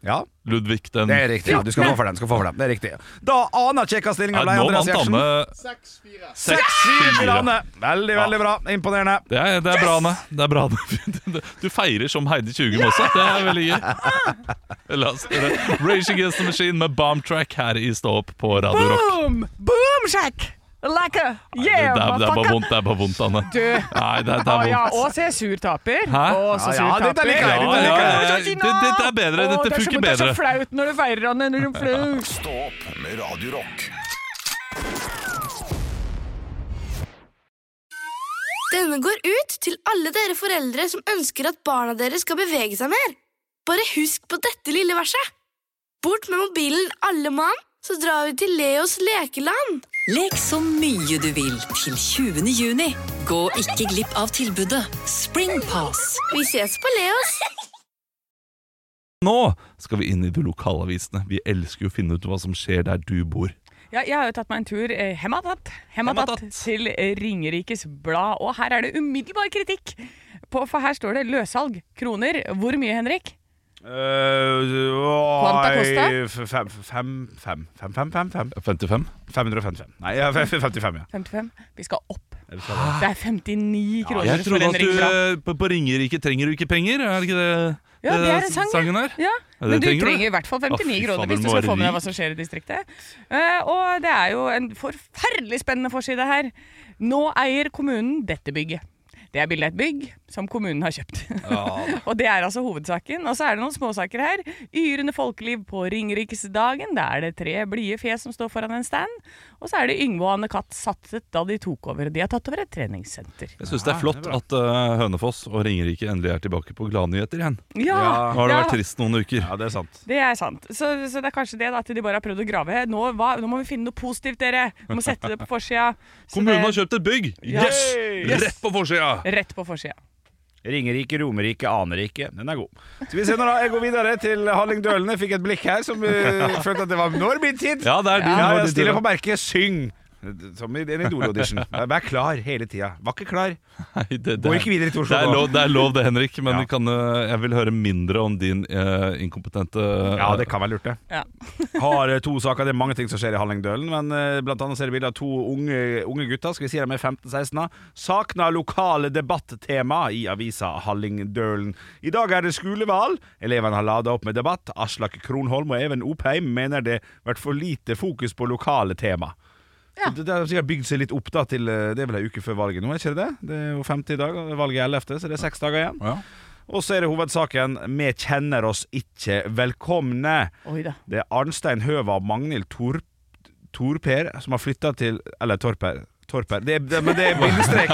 S7: Ja,
S5: Ludvig den
S7: det er riktig. Du skal få for den. du Skal få for den. Det er riktig. Da aner ikke jeg hva stillinga
S5: Ja,
S7: ble.
S5: Nå
S7: Andreas
S5: vant
S7: Gjertsen.
S5: Anne.
S7: Seks, fire til Anne. Veldig, veldig bra. Imponerende.
S5: Det er, det er bra, Anne. Det er bra, Anne. Du feirer som Heidi Tjugum også. Det er veldig gøy. La oss gjøre Rage Against the Machine med Bomb Track her i Stå opp på Radio Rock.
S6: Boom! Boom, Jack! Like a
S5: Det, det,
S6: yeah,
S5: er, det er bare
S6: motherfucker.
S5: vondt, det er bare vondt, Anne.
S6: Du.
S5: Nei, det, det
S6: Å
S5: er
S6: ja,
S5: vondt.
S6: og se surtaper.
S5: Hæ?
S6: Å, så
S7: Ja, ja,
S6: surtaper.
S7: dette liker jeg, dette
S5: Ja,
S6: Å, så
S7: liker jeg.
S5: ja,
S6: fint,
S5: det-
S6: da.
S5: dette er bedre,
S6: Å,
S5: dette
S6: det er så
S5: funker
S6: godt, Det er
S5: bedre.
S6: så flaut når du feirer Anne, når du er flau.
S8: Stå opp med Radio Rock.
S4: Denne går ut til alle dere foreldre som ønsker at barna deres skal bevege seg mer. Bare husk på dette lille verset. Bort med mobilen, alle mann, så drar vi til Leos lekeland.
S9: Lek så mye du vil til 20. juni. Gå ikke glipp av tilbudet Springpass.
S4: Vi ses på Leos.
S5: Nå skal vi inn i de lokalavisene. Vi elsker jo å finne ut hva som skjer der du bor.
S6: Ja, jeg har jo tatt meg en tur eh, hematatt, hematatt
S5: Hematatt.
S6: til eh, Ringerikes Blad, og her er det umiddelbar kritikk. På, for her står det løssalg. Kroner. Hvor mye, Henrik?
S7: Eh, Quanta
S6: kosta?
S7: Fem, fem, fem, fem, fem, fem, fem.
S5: 55?
S7: 555. Nei, ja, 55, ja.
S6: 55? Vi skal opp.
S7: Eller så er det-
S6: Det er 59 kroner
S5: Ah. Jeg
S6: for
S5: trodde at
S6: en
S5: du
S6: Ringerike Blad.
S5: eh, på, på Ringerike trenger du ikke penger. Er det ikke det,
S6: Ja, det er en sang, ja.
S5: sangen her?
S6: Ja,
S5: Ja, det
S6: men du
S5: trenger du.
S6: trenger i hvert fall 59
S5: Å, fy faen,
S6: kroner hvis
S5: men
S6: du
S5: nå er
S6: skal
S5: det
S6: få med deg
S5: rik.
S6: hva som skjer i distriktet. Eh, og det er jo en forferdelig spennende forside her. Nå eier kommunen dette bygget. Det er bilde av et bygg som kommunen har kjøpt. og det er altså hovedsaken. Og så er det noen småsaker her. Yrende folkeliv på Ringeriksdagen. Der er det tre blide fjes som står foran en stand. Og så er det Yngve og Anne Katt satset da de tok over. De har tatt over et treningssenter.
S5: Jeg syns det er flott at eh, Hønefoss og Ringerike endelig er tilbake på gladnyheter igjen.
S6: Ja,
S7: Ah!
S5: Nå har det
S6: ja.
S5: vært trist noen uker.
S7: ja, det er sant.
S6: Det er sant. Så, så det er kanskje det da, at de bare har prøvd å grave. Nå, hva, nå må vi finne noe positivt, dere! Vi må sette det på forsida. Så
S5: Kommunen har
S6: det-
S5: kjøpt et bygg!
S6: Ja.
S5: Yes!
S6: Yes!
S5: Rett på forsida!
S6: Rett på forsida.
S7: Ringerike, Romerike, Anerike. Den er god. Skal vi se når da jeg går videre til Hallingdølene. Fikk et blikk her som eh, følte at det var Når min tid?
S5: Ja, det er din.
S7: Ja,
S5: nå er
S7: jeg
S5: det
S7: stiller
S5: din.
S7: på merket. Syng! Som i en Idol-audition. Vær klar hele tida. Var ikke klar.
S5: Nei, det, det,
S7: Gå ikke videre til Oslo
S5: det er
S7: nå.
S5: lov, det, er lov det Henrik, men
S7: Ja.
S5: kan, eh, jeg vil høre mindre om din eh, inkompetente
S7: Ja, det kan være lurt, det.
S6: Ja.
S7: Har eh, to saker, Det er mange ting som skjer i Hallingdølen, men eh, blant annet ser vi bilde av to unge, unge gutter, skal vi si de er 15-16, savner lokale debattema i avisa Hallingdølen. I dag er det skolevalg. Elevene har lada opp med debatt. Aslak Kronholm og Even Opheim mener det har vært for lite fokus på lokale tema.
S6: Ja.
S7: Så Det, det har sikkert bygd seg litt opp da til eh, Det er vel ei uke før valget nå, er ikke det det? Det er jo 50 i dag, og valget er 11., så det er seks dager igjen.
S5: Ja.
S7: Og så er det hovedsaken 'Vi kjenner oss ikke velkomne'.
S6: Oi da.
S7: Det er Arnstein Høva og Magnhild Tor Torper som har flytta til Eller Torper. Torper. Det er, det, men det er bindestrek.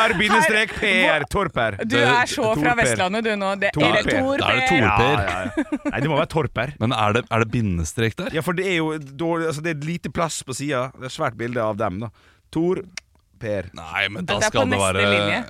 S7: TOR-PR Torper.
S6: Du er så fra
S7: Torper.
S6: Vestlandet du nå. Det
S7: Torper.
S6: er det Torper.
S5: Da er det Torper.
S7: Ja, ja, ja. Nei, det må være Torper.
S5: Men er det, er det bindestrek der?
S7: Ja, for det er jo dårlig altså Det er lite plass på sida. Det er svært bilde av dem, da. Tor Per.
S5: Nei, men da
S6: Det er på
S5: skal det
S6: neste
S5: være
S6: linje.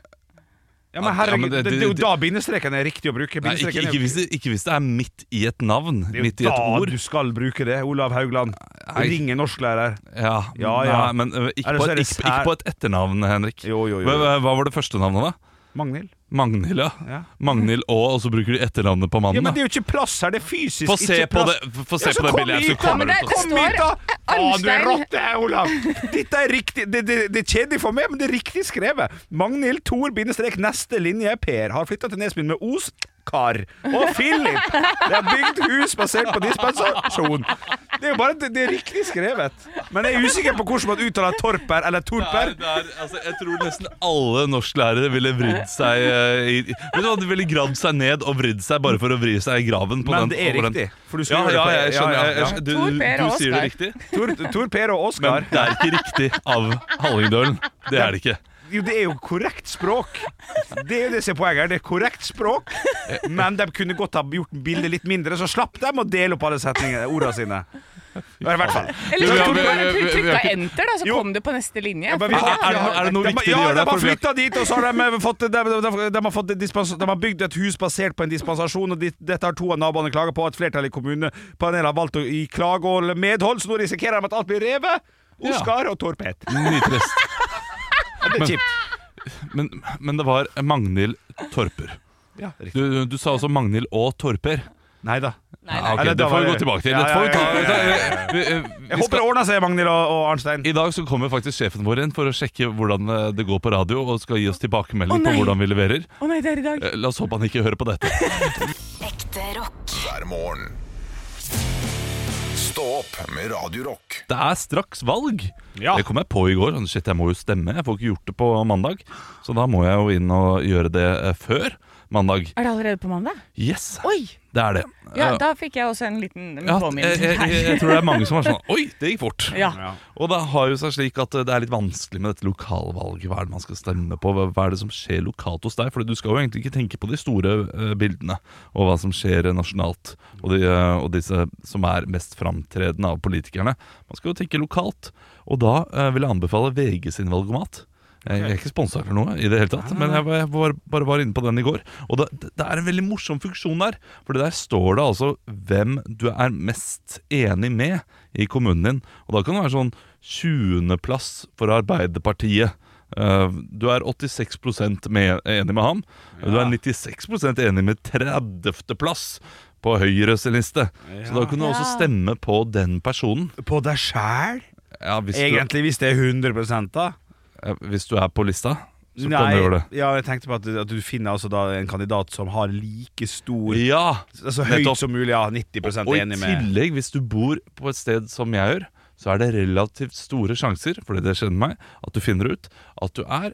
S7: Ja, men herregud,
S5: Ja, men det-
S7: det, det er jo
S5: det-
S7: da bindestreken er riktig å bruke.
S5: Nei, ikke,
S7: Bindestreken er
S5: ikke, hvis det, ikke hvis det er midt i et navn.
S7: det er
S5: Midt i
S7: jo
S5: et
S7: da
S5: ord.
S7: du skal bruke det, Olav Haugland.
S5: Nei.
S7: Ring en norsklærer.
S5: Ja,
S7: Ja,
S5: Nei,
S7: ja.
S5: men eh, ikke,
S7: Eller
S5: på,
S7: så er
S5: et-
S7: det
S5: ikke,
S7: sær-
S5: ikke på et etternavn, Henrik.
S7: Jo, jo, jo.
S5: Hva, hva- hva var det første navnet, da?
S7: Magnhild.
S5: Magnhild, ja.
S7: Ja.
S5: Magnhild Å, og så bruker de etternavnet på
S7: Ja,
S5: mannen.
S7: men
S5: da.
S7: det er jo ikke plass her, det er fysisk
S5: Få se
S7: ikke
S5: på
S7: plass.
S5: det, få se
S7: Ja, så
S5: på det
S7: kom
S5: bildet.
S7: hit,
S5: Så
S7: da,
S5: kommer
S6: men
S5: det
S6: det
S5: ut.
S6: kom-
S7: Kom hit, da! Faen, du er
S6: Arnstein.
S7: rotte, Olav! Dette er riktig det, det, det er kjedelig for meg, men det er riktig skrevet. Magnhild Thor bindestrek neste linje er Per. Har flytta til Nesbyen med Os. Kar og Philip. Det er bygd hus basert på dispensasjon. Det er jo bare det, det er riktig skrevet. Men jeg er usikker på hvordan man uttaler Torper eller
S5: Der,
S7: Torper.
S5: der, altså, jeg tror nesten alle norsklærere ville vridd seg eh, i, Vet du hva, De ville gravd seg ned og vridd seg bare for å vri seg i graven. På den,
S7: Men det er
S5: over den.
S7: riktig. For du
S5: Ja,
S7: skal
S5: ja,
S7: gjøre
S5: jeg
S7: det på-
S5: skjønner.
S7: ja,
S5: Jeg,
S7: ja,
S5: jeg, du
S6: Tor, Per
S5: du
S6: og
S5: sier det
S6: Oskar.
S5: riktig.
S7: Tor, Tor Per og Oskar.
S5: Men det er ikke riktig av Hallingdølen. Det er det ikke.
S7: Jo, det er jo korrekt språk. Det er jo det som er poenget her. Det er korrekt språk, men de kunne godt ha gjort bildet litt mindre, så slapp de å dele opp alle setningene, ordene sine. I hvert fall.
S5: Vi-
S6: Eller så
S5: vi-
S6: tok du bare
S5: Eh, vi- vi- vi- vi har
S6: trykka
S5: ikke-
S6: enter, da, så
S7: Jo.
S6: kom du på neste linje.
S7: Ja, men vi-
S6: For-
S5: Er det noe- er det noe viktig de
S7: ja,
S5: gjør
S7: de
S5: der?
S7: har
S5: For vi har-
S7: flytta dit, og så har de fått, de, de, de, de har fått dispens, de har bygd et hus basert på en dispensasjon, og de, dette har to av naboene klaga på. At flertallet i kommunepanelet har valgt å gi klage og medhold, så nå risikerer de at alt blir revet. Oskar og Torpet.
S5: Nytrist.
S7: Ja, Det er kjipt.
S5: Men, men det var Magnhild Torper.
S7: Ja, riktig.
S5: Du, du sa også Magnhild og Torper.
S7: Nei da.
S5: Ja, ok,
S7: Eller,
S5: det
S7: da
S5: får
S7: var
S5: vi gå
S7: det-
S5: tilbake til.
S7: Ja,
S5: Dette får vi
S7: ja,
S5: ta.
S7: ja, ja, ja, ja.
S5: Vi, eh, vi
S7: Jeg håper
S5: skal,
S7: det ordner seg, Magnhild og, og Arnstein.
S5: I dag så kommer faktisk sjefen vår inn for å sjekke hvordan eh, det går på radio, og skal gi oss
S6: Å,
S5: tilbakemelding på
S6: nei.
S5: hvordan vi leverer.
S6: Å nei, det er i dag.
S5: Eh, La oss håpe han ikke hører på dette.
S9: Ekte rock.
S8: hver morgen. Stå opp med Radio Rock.
S5: Det er straks valg.
S7: Ja.
S5: Det kom jeg på i går. Sånn, Shit, jeg må jo stemme. Jeg får ikke gjort det på mandag. Så da må jeg jo inn og gjøre det eh, før mandag.
S6: Er det allerede på mandag?
S5: Yes,
S6: Oi!
S5: det er det.
S6: Ja,
S5: Eh,
S6: da fikk jeg også en liten
S5: ja, jeg,
S6: påminnelse
S5: jeg, jeg, jeg tror det er mange som var sånn Oi, det gikk fort.
S6: Ja.
S5: Og det har jo seg slik at eh, det er litt vanskelig med dette lokalvalget. Hva er det man skal stemme på? Hva hva er det som skjer lokalt hos deg? For du skal jo egentlig ikke tenke på de store eh, bildene og hva som skjer eh, nasjonalt. Og, de, eh, og disse som er mest framtredende av politikerne. Man skal jo tenke lokalt. Og da eh, vil jeg anbefale VG sin valgomat. Jeg jeg er ikke sponsa eller noe, i det hele tatt men jeg var, jeg var, bare var inne på den i går. Og det, det er en veldig morsom funksjon der. For der står det altså hvem du er mest enig med i kommunen din. Og da kan det være sånn 20.-plass for Arbeiderpartiet. Eh, du er 86 med, enig med ham. Du er 96 enig med 30.-plass på Høyres liste. Så da kan du også stemme på den personen.
S7: På deg sjæl?
S5: Ja, hvis, du,
S7: Egentlig, hvis det er 100 da.
S5: eh, hvis du er på lista, så kan du gjøre det.
S7: ja, jeg tenkte på at, at du finner altså da en kandidat som har like stor
S5: Ja!
S7: Altså høyt
S5: nettopp.
S7: som mulig, ja. 90
S5: Og i
S7: enig med
S5: tillegg, hvis du bor på et sted som jeg gjør, så er det relativt store sjanser, fordi det kjenner meg, at du finner ut at du er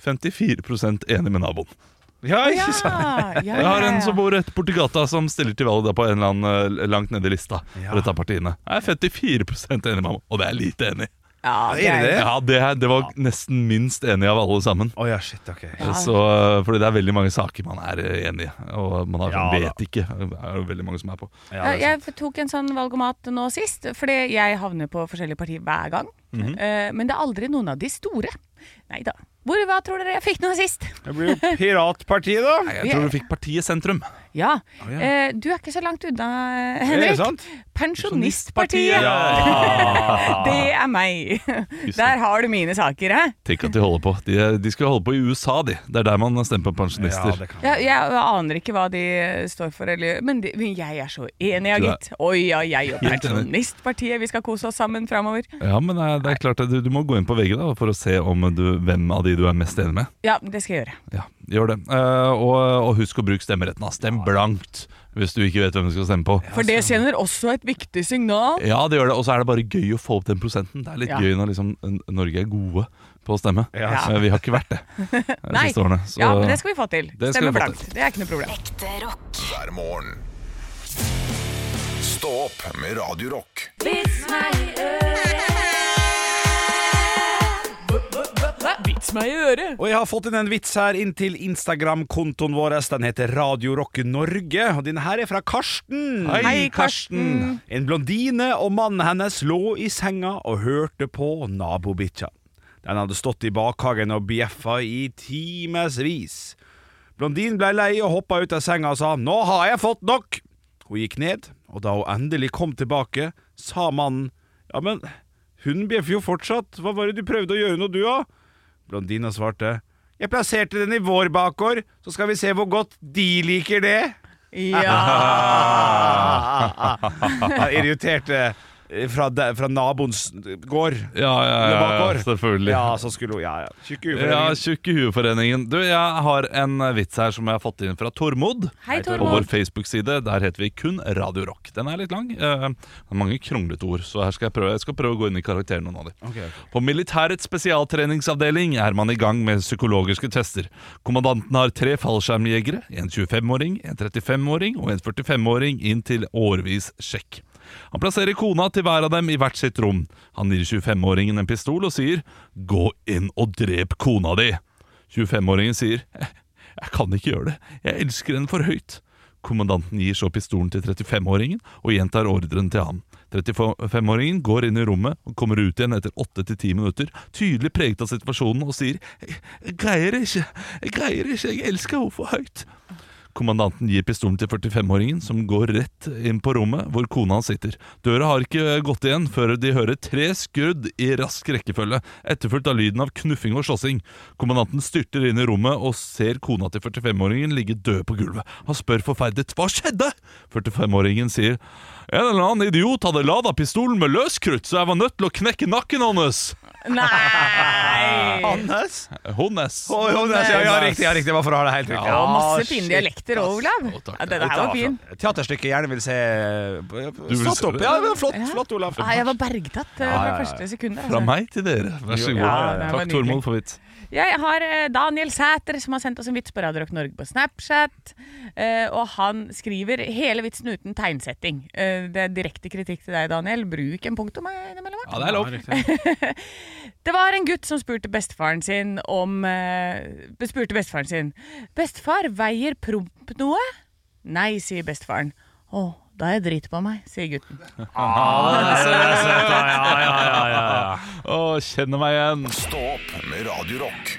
S5: 54 enig med naboen.
S7: Ja,
S6: Ja,
S7: ikke sant?
S6: ja, ja,
S5: Jeg har en
S6: ja.
S5: som bor rett borti gata, som stiller til valg da på en eller annen eh, langt nede i lista.
S7: Ja.
S5: For dette er partiene. Jeg er 54 enig med ham, og det er lite enig.
S6: ja, det
S7: Er det
S6: er,
S7: det?
S5: Ja, det, er, det var nesten minst enig av alle sammen.
S7: Å ja, shit, ok.
S5: Så, eh, fordi det er veldig mange saker man er eh, enig i, og man har,
S7: Ja, da.
S5: vet ikke. Det er jo veldig mange som er på.
S7: Ja,
S6: Ja,
S7: det er sant.
S6: jeg tok en sånn valgomat nå sist, fordi jeg havner på forskjellige partier hver gang.
S7: Mhm.
S6: Eh, men det er aldri noen av de store. Nei da. Hvor, hva tror dere jeg fikk nå sist?
S7: Det blir jo Piratpartiet, da.
S5: Jeg tror du fikk partiet sentrum.
S6: Ja.
S5: ja.
S6: Eh, du er ikke så langt unna, eh,
S7: Er det
S6: Henrik.
S7: sant?
S6: Pensjonistpartiet.
S7: Ja.
S6: Det er meg. Der har du mine saker, hæ?
S5: Tenk at de holder på. De, de skal holde på i USA, de. Det er der man stemmer på pensjonister.
S7: Ja, det kan.
S6: Ja, jeg aner ikke hva de står for, eller, men, de, men jeg er så enig, ja,
S5: Du er-
S6: gitt. Oi, ja, jeg og
S5: Helt enig.
S6: Pensjonistpartiet, vi skal kose oss sammen framover.
S5: ja, men det er, det er klart at du, du må gå inn på VG da for å se om du, hvem av de du er mest enig med.
S6: Ja, det skal jeg gjøre.
S5: Ja, gjør det. Eh, og, og husk å bruke stemmeretten. da. Stem blankt hvis du ikke vet hvem du skal stemme på.
S6: For det sender også et viktig signal.
S5: Ja, det gjør det. Og så er det bare gøy å få opp den prosenten. Det er litt
S6: Ja.
S5: gøy når liksom N- Norge er gode på å stemme.
S7: Ja.
S5: Eh, vi har ikke vært det de
S6: Nei.
S5: siste årene. Så
S6: Ja, men det skal vi få til.
S5: Det skal vi
S6: Stemme
S5: få
S6: blankt. Det er ikke noe problem.
S9: Ekte rock.
S8: hver morgen. Stå opp med Radio Rock.
S6: Vits meg i øret.
S7: Og jeg har fått inn en vits her inn til Instagram-kontoen vår. Den heter Radio Rock Norge, og denne her er fra Karsten.
S6: Hei, Karsten.
S7: En blondine og mannen hennes lå i senga og hørte på nabobikkja. Den hadde stått i bakhagen og bjeffa i timevis. Blondinen ble lei og hoppa ut av senga og sa 'Nå har jeg fått nok'. Hun gikk ned, og da hun endelig kom tilbake, sa mannen 'Ja, men hun bjeffer jo fortsatt. Hva var det du prøvde å gjøre nå, du, da?' Blondina svarte 'Jeg plasserte den i vår bakgård, så skal vi se hvor godt de liker det'.
S6: Ja.
S7: Ah. Jeg irriterte eh, fra, de- fra naboens gård.
S5: Ja, ja, ja, ja,
S7: Bakgård.
S5: selvfølgelig.
S7: Ja, så skulle hun Ja, ja. Tjukk
S5: Ja,
S7: uforening.
S5: Tjukk i hueforeningen. Du, jeg har en eh, vits her som jeg har fått inn fra Tormod.
S6: Hei,
S5: På vår
S6: Tormod.
S5: Facebook-side. Der heter vi kun Radio Rock. Den er litt lang. eh, det er mange kronglete ord, så her skal jeg, prøve, jeg skal prøve å gå inn i karakteren noen av de.
S7: Ok, ok.
S5: På militærets spesialtreningsavdeling er man i gang med psykologiske tester. Kommandanten har tre fallskjermjegere, en 25-åring, en 35-åring og en 45-åring inn til årevis sjekk. Han plasserer kona til hver av dem i hvert sitt rom. Han gir 25-åringen en pistol og sier 'gå inn og drep kona di'. 25-åringen sier 'jeg kan ikke gjøre det, jeg elsker henne for høyt'. Kommandanten gir så pistolen til 35-åringen og gjentar ordren til ham. 35-åringen går inn i rommet og kommer ut igjen etter 8-10 minutter, tydelig preget av situasjonen, og sier «Jeg jeg greier det ikke, jeg greier det ikke, jeg elsker henne for høyt. Kommandanten gir pistolen til 45-åringen, som går rett inn på rommet hvor kona hans sitter. Døra har ikke gått igjen før de hører tre skudd i rask rekkefølge, etterfulgt av lyden av knuffing og slåssing. Kommandanten styrter inn i rommet og ser kona til 45-åringen ligge død på gulvet. Han spør forferdet hva skjedde? 45-åringen sier en eller annen idiot hadde lada pistolen med løskrutt, så jeg var nødt til å knekke nakken hans. Eh,
S6: Nei!
S7: Hannes?
S5: Honnes.
S7: Å, Hannes, ja, ja, riktig, ja, riktig. Bare for å ha det helt riktig.
S6: Og masse
S7: shit.
S6: fine dialekter òg, Olav.
S5: Å, takk.
S6: Ja, det der var fin.
S7: Teaterstykket jeg gjerne vil se
S5: Du vil
S7: Satt
S5: se
S7: opp,
S5: det?
S7: ja. det var Flott,
S6: Ja.
S7: flott Olav.
S6: Nei, Ah, jeg var bergtatt eh,
S7: Ja, ja,
S6: fra
S7: ja.
S6: første sekund.
S5: Fra
S6: Altså.
S5: meg til dere. Vær så god.
S7: Ja,
S6: det var
S5: Takk,
S6: nydelig.
S5: Tormod, for vidt.
S6: Jeg har eh, Daniel Sæter, som har sendt oss en vits på Radio Rock Norge på Snapchat. eh, Og han skriver hele vitsen uten tegnsetting. Eh, Det er direkte kritikk til deg, Daniel. Bruk en punktum eh, innimellom.
S5: Ja, det er lov.
S6: Det var en gutt som spurte bestefaren sin om eh, Spurte bestefaren sin Bestefar, veier promp noe? Nei, sier bestefaren. Å, da er jeg drit på meg, sier gutten.
S5: Å, kjenner meg igjen.
S8: Stå opp med Radio Rock.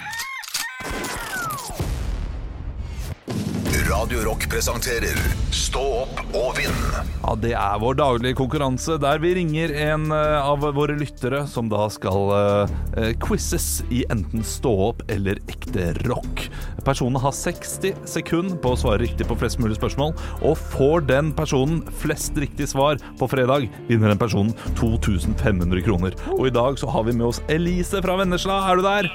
S8: Radio Rock presenterer Stå opp og vinn.
S5: Ja, Det er vår daglige konkurranse der vi ringer en eh, av våre lyttere som da skal eh, eh, quizzes i enten stå opp eller ekte rock. Personen har 60 sekunder på å svare riktig på flest mulig spørsmål, og får den personen flest riktige svar på fredag, vinner den personen 2500 kroner. Og i dag så har vi med oss Elise fra Vennesla. Er du der?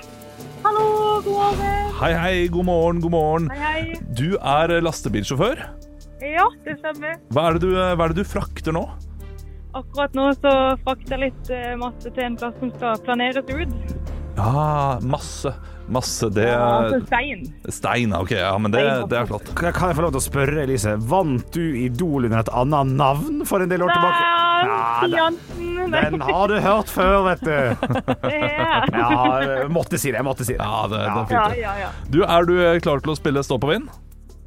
S11: Hallo, god morgen.
S5: Hei, hei. God morgen, god morgen.
S11: Hei, hei.
S5: Du er eh, lastebilsjåfør.
S11: Ja, det stemmer.
S5: Hva er det du, eh, hva er det du frakter nå?
S11: Akkurat nå så frakter jeg litt eh, masse til en plass som skal planeres ut.
S5: Ja, Ah, masse. Masse. Det
S11: Altså stein.
S5: Stein, ok. Ja, men det, det er flott.
S7: Kan kan jeg få lov til å spørre, Elise? Vant du Idol under et annet navn for en del år tilbake?
S11: Nei,
S7: Ja,
S11: Jansen.
S7: den, den har du hørt før, vet du.
S11: det er
S7: Ja, jeg eh, måtte si det. Jeg måtte si det.
S5: Ja, det, det er
S11: Ja,
S5: fint.
S11: ja, ja.
S5: Du, er du eh, klar til å spille Stå på vind?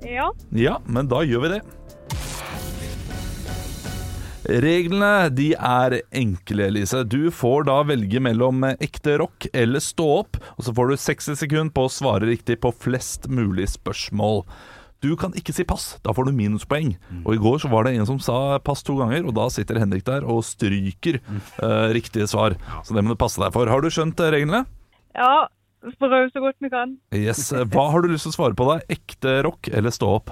S11: Ja,
S5: Ja, men da gjør vi det. Reglene de er enkle, Elise. Du får da velge mellom ekte rock eller stå opp, og så får du 60 sekunder på å svare riktig på flest mulig spørsmål. Du kan ikke si pass, da får du minuspoeng. Og i går så var det en som sa pass to ganger, og da sitter Henrik der og stryker eh, riktige svar. Så det må du passe deg for. Har du skjønt eh, reglene?
S11: ja. Prøv så godt vi kan.
S5: Yes. Hva har du lyst til å svare på da? Ekte rock eller stå opp?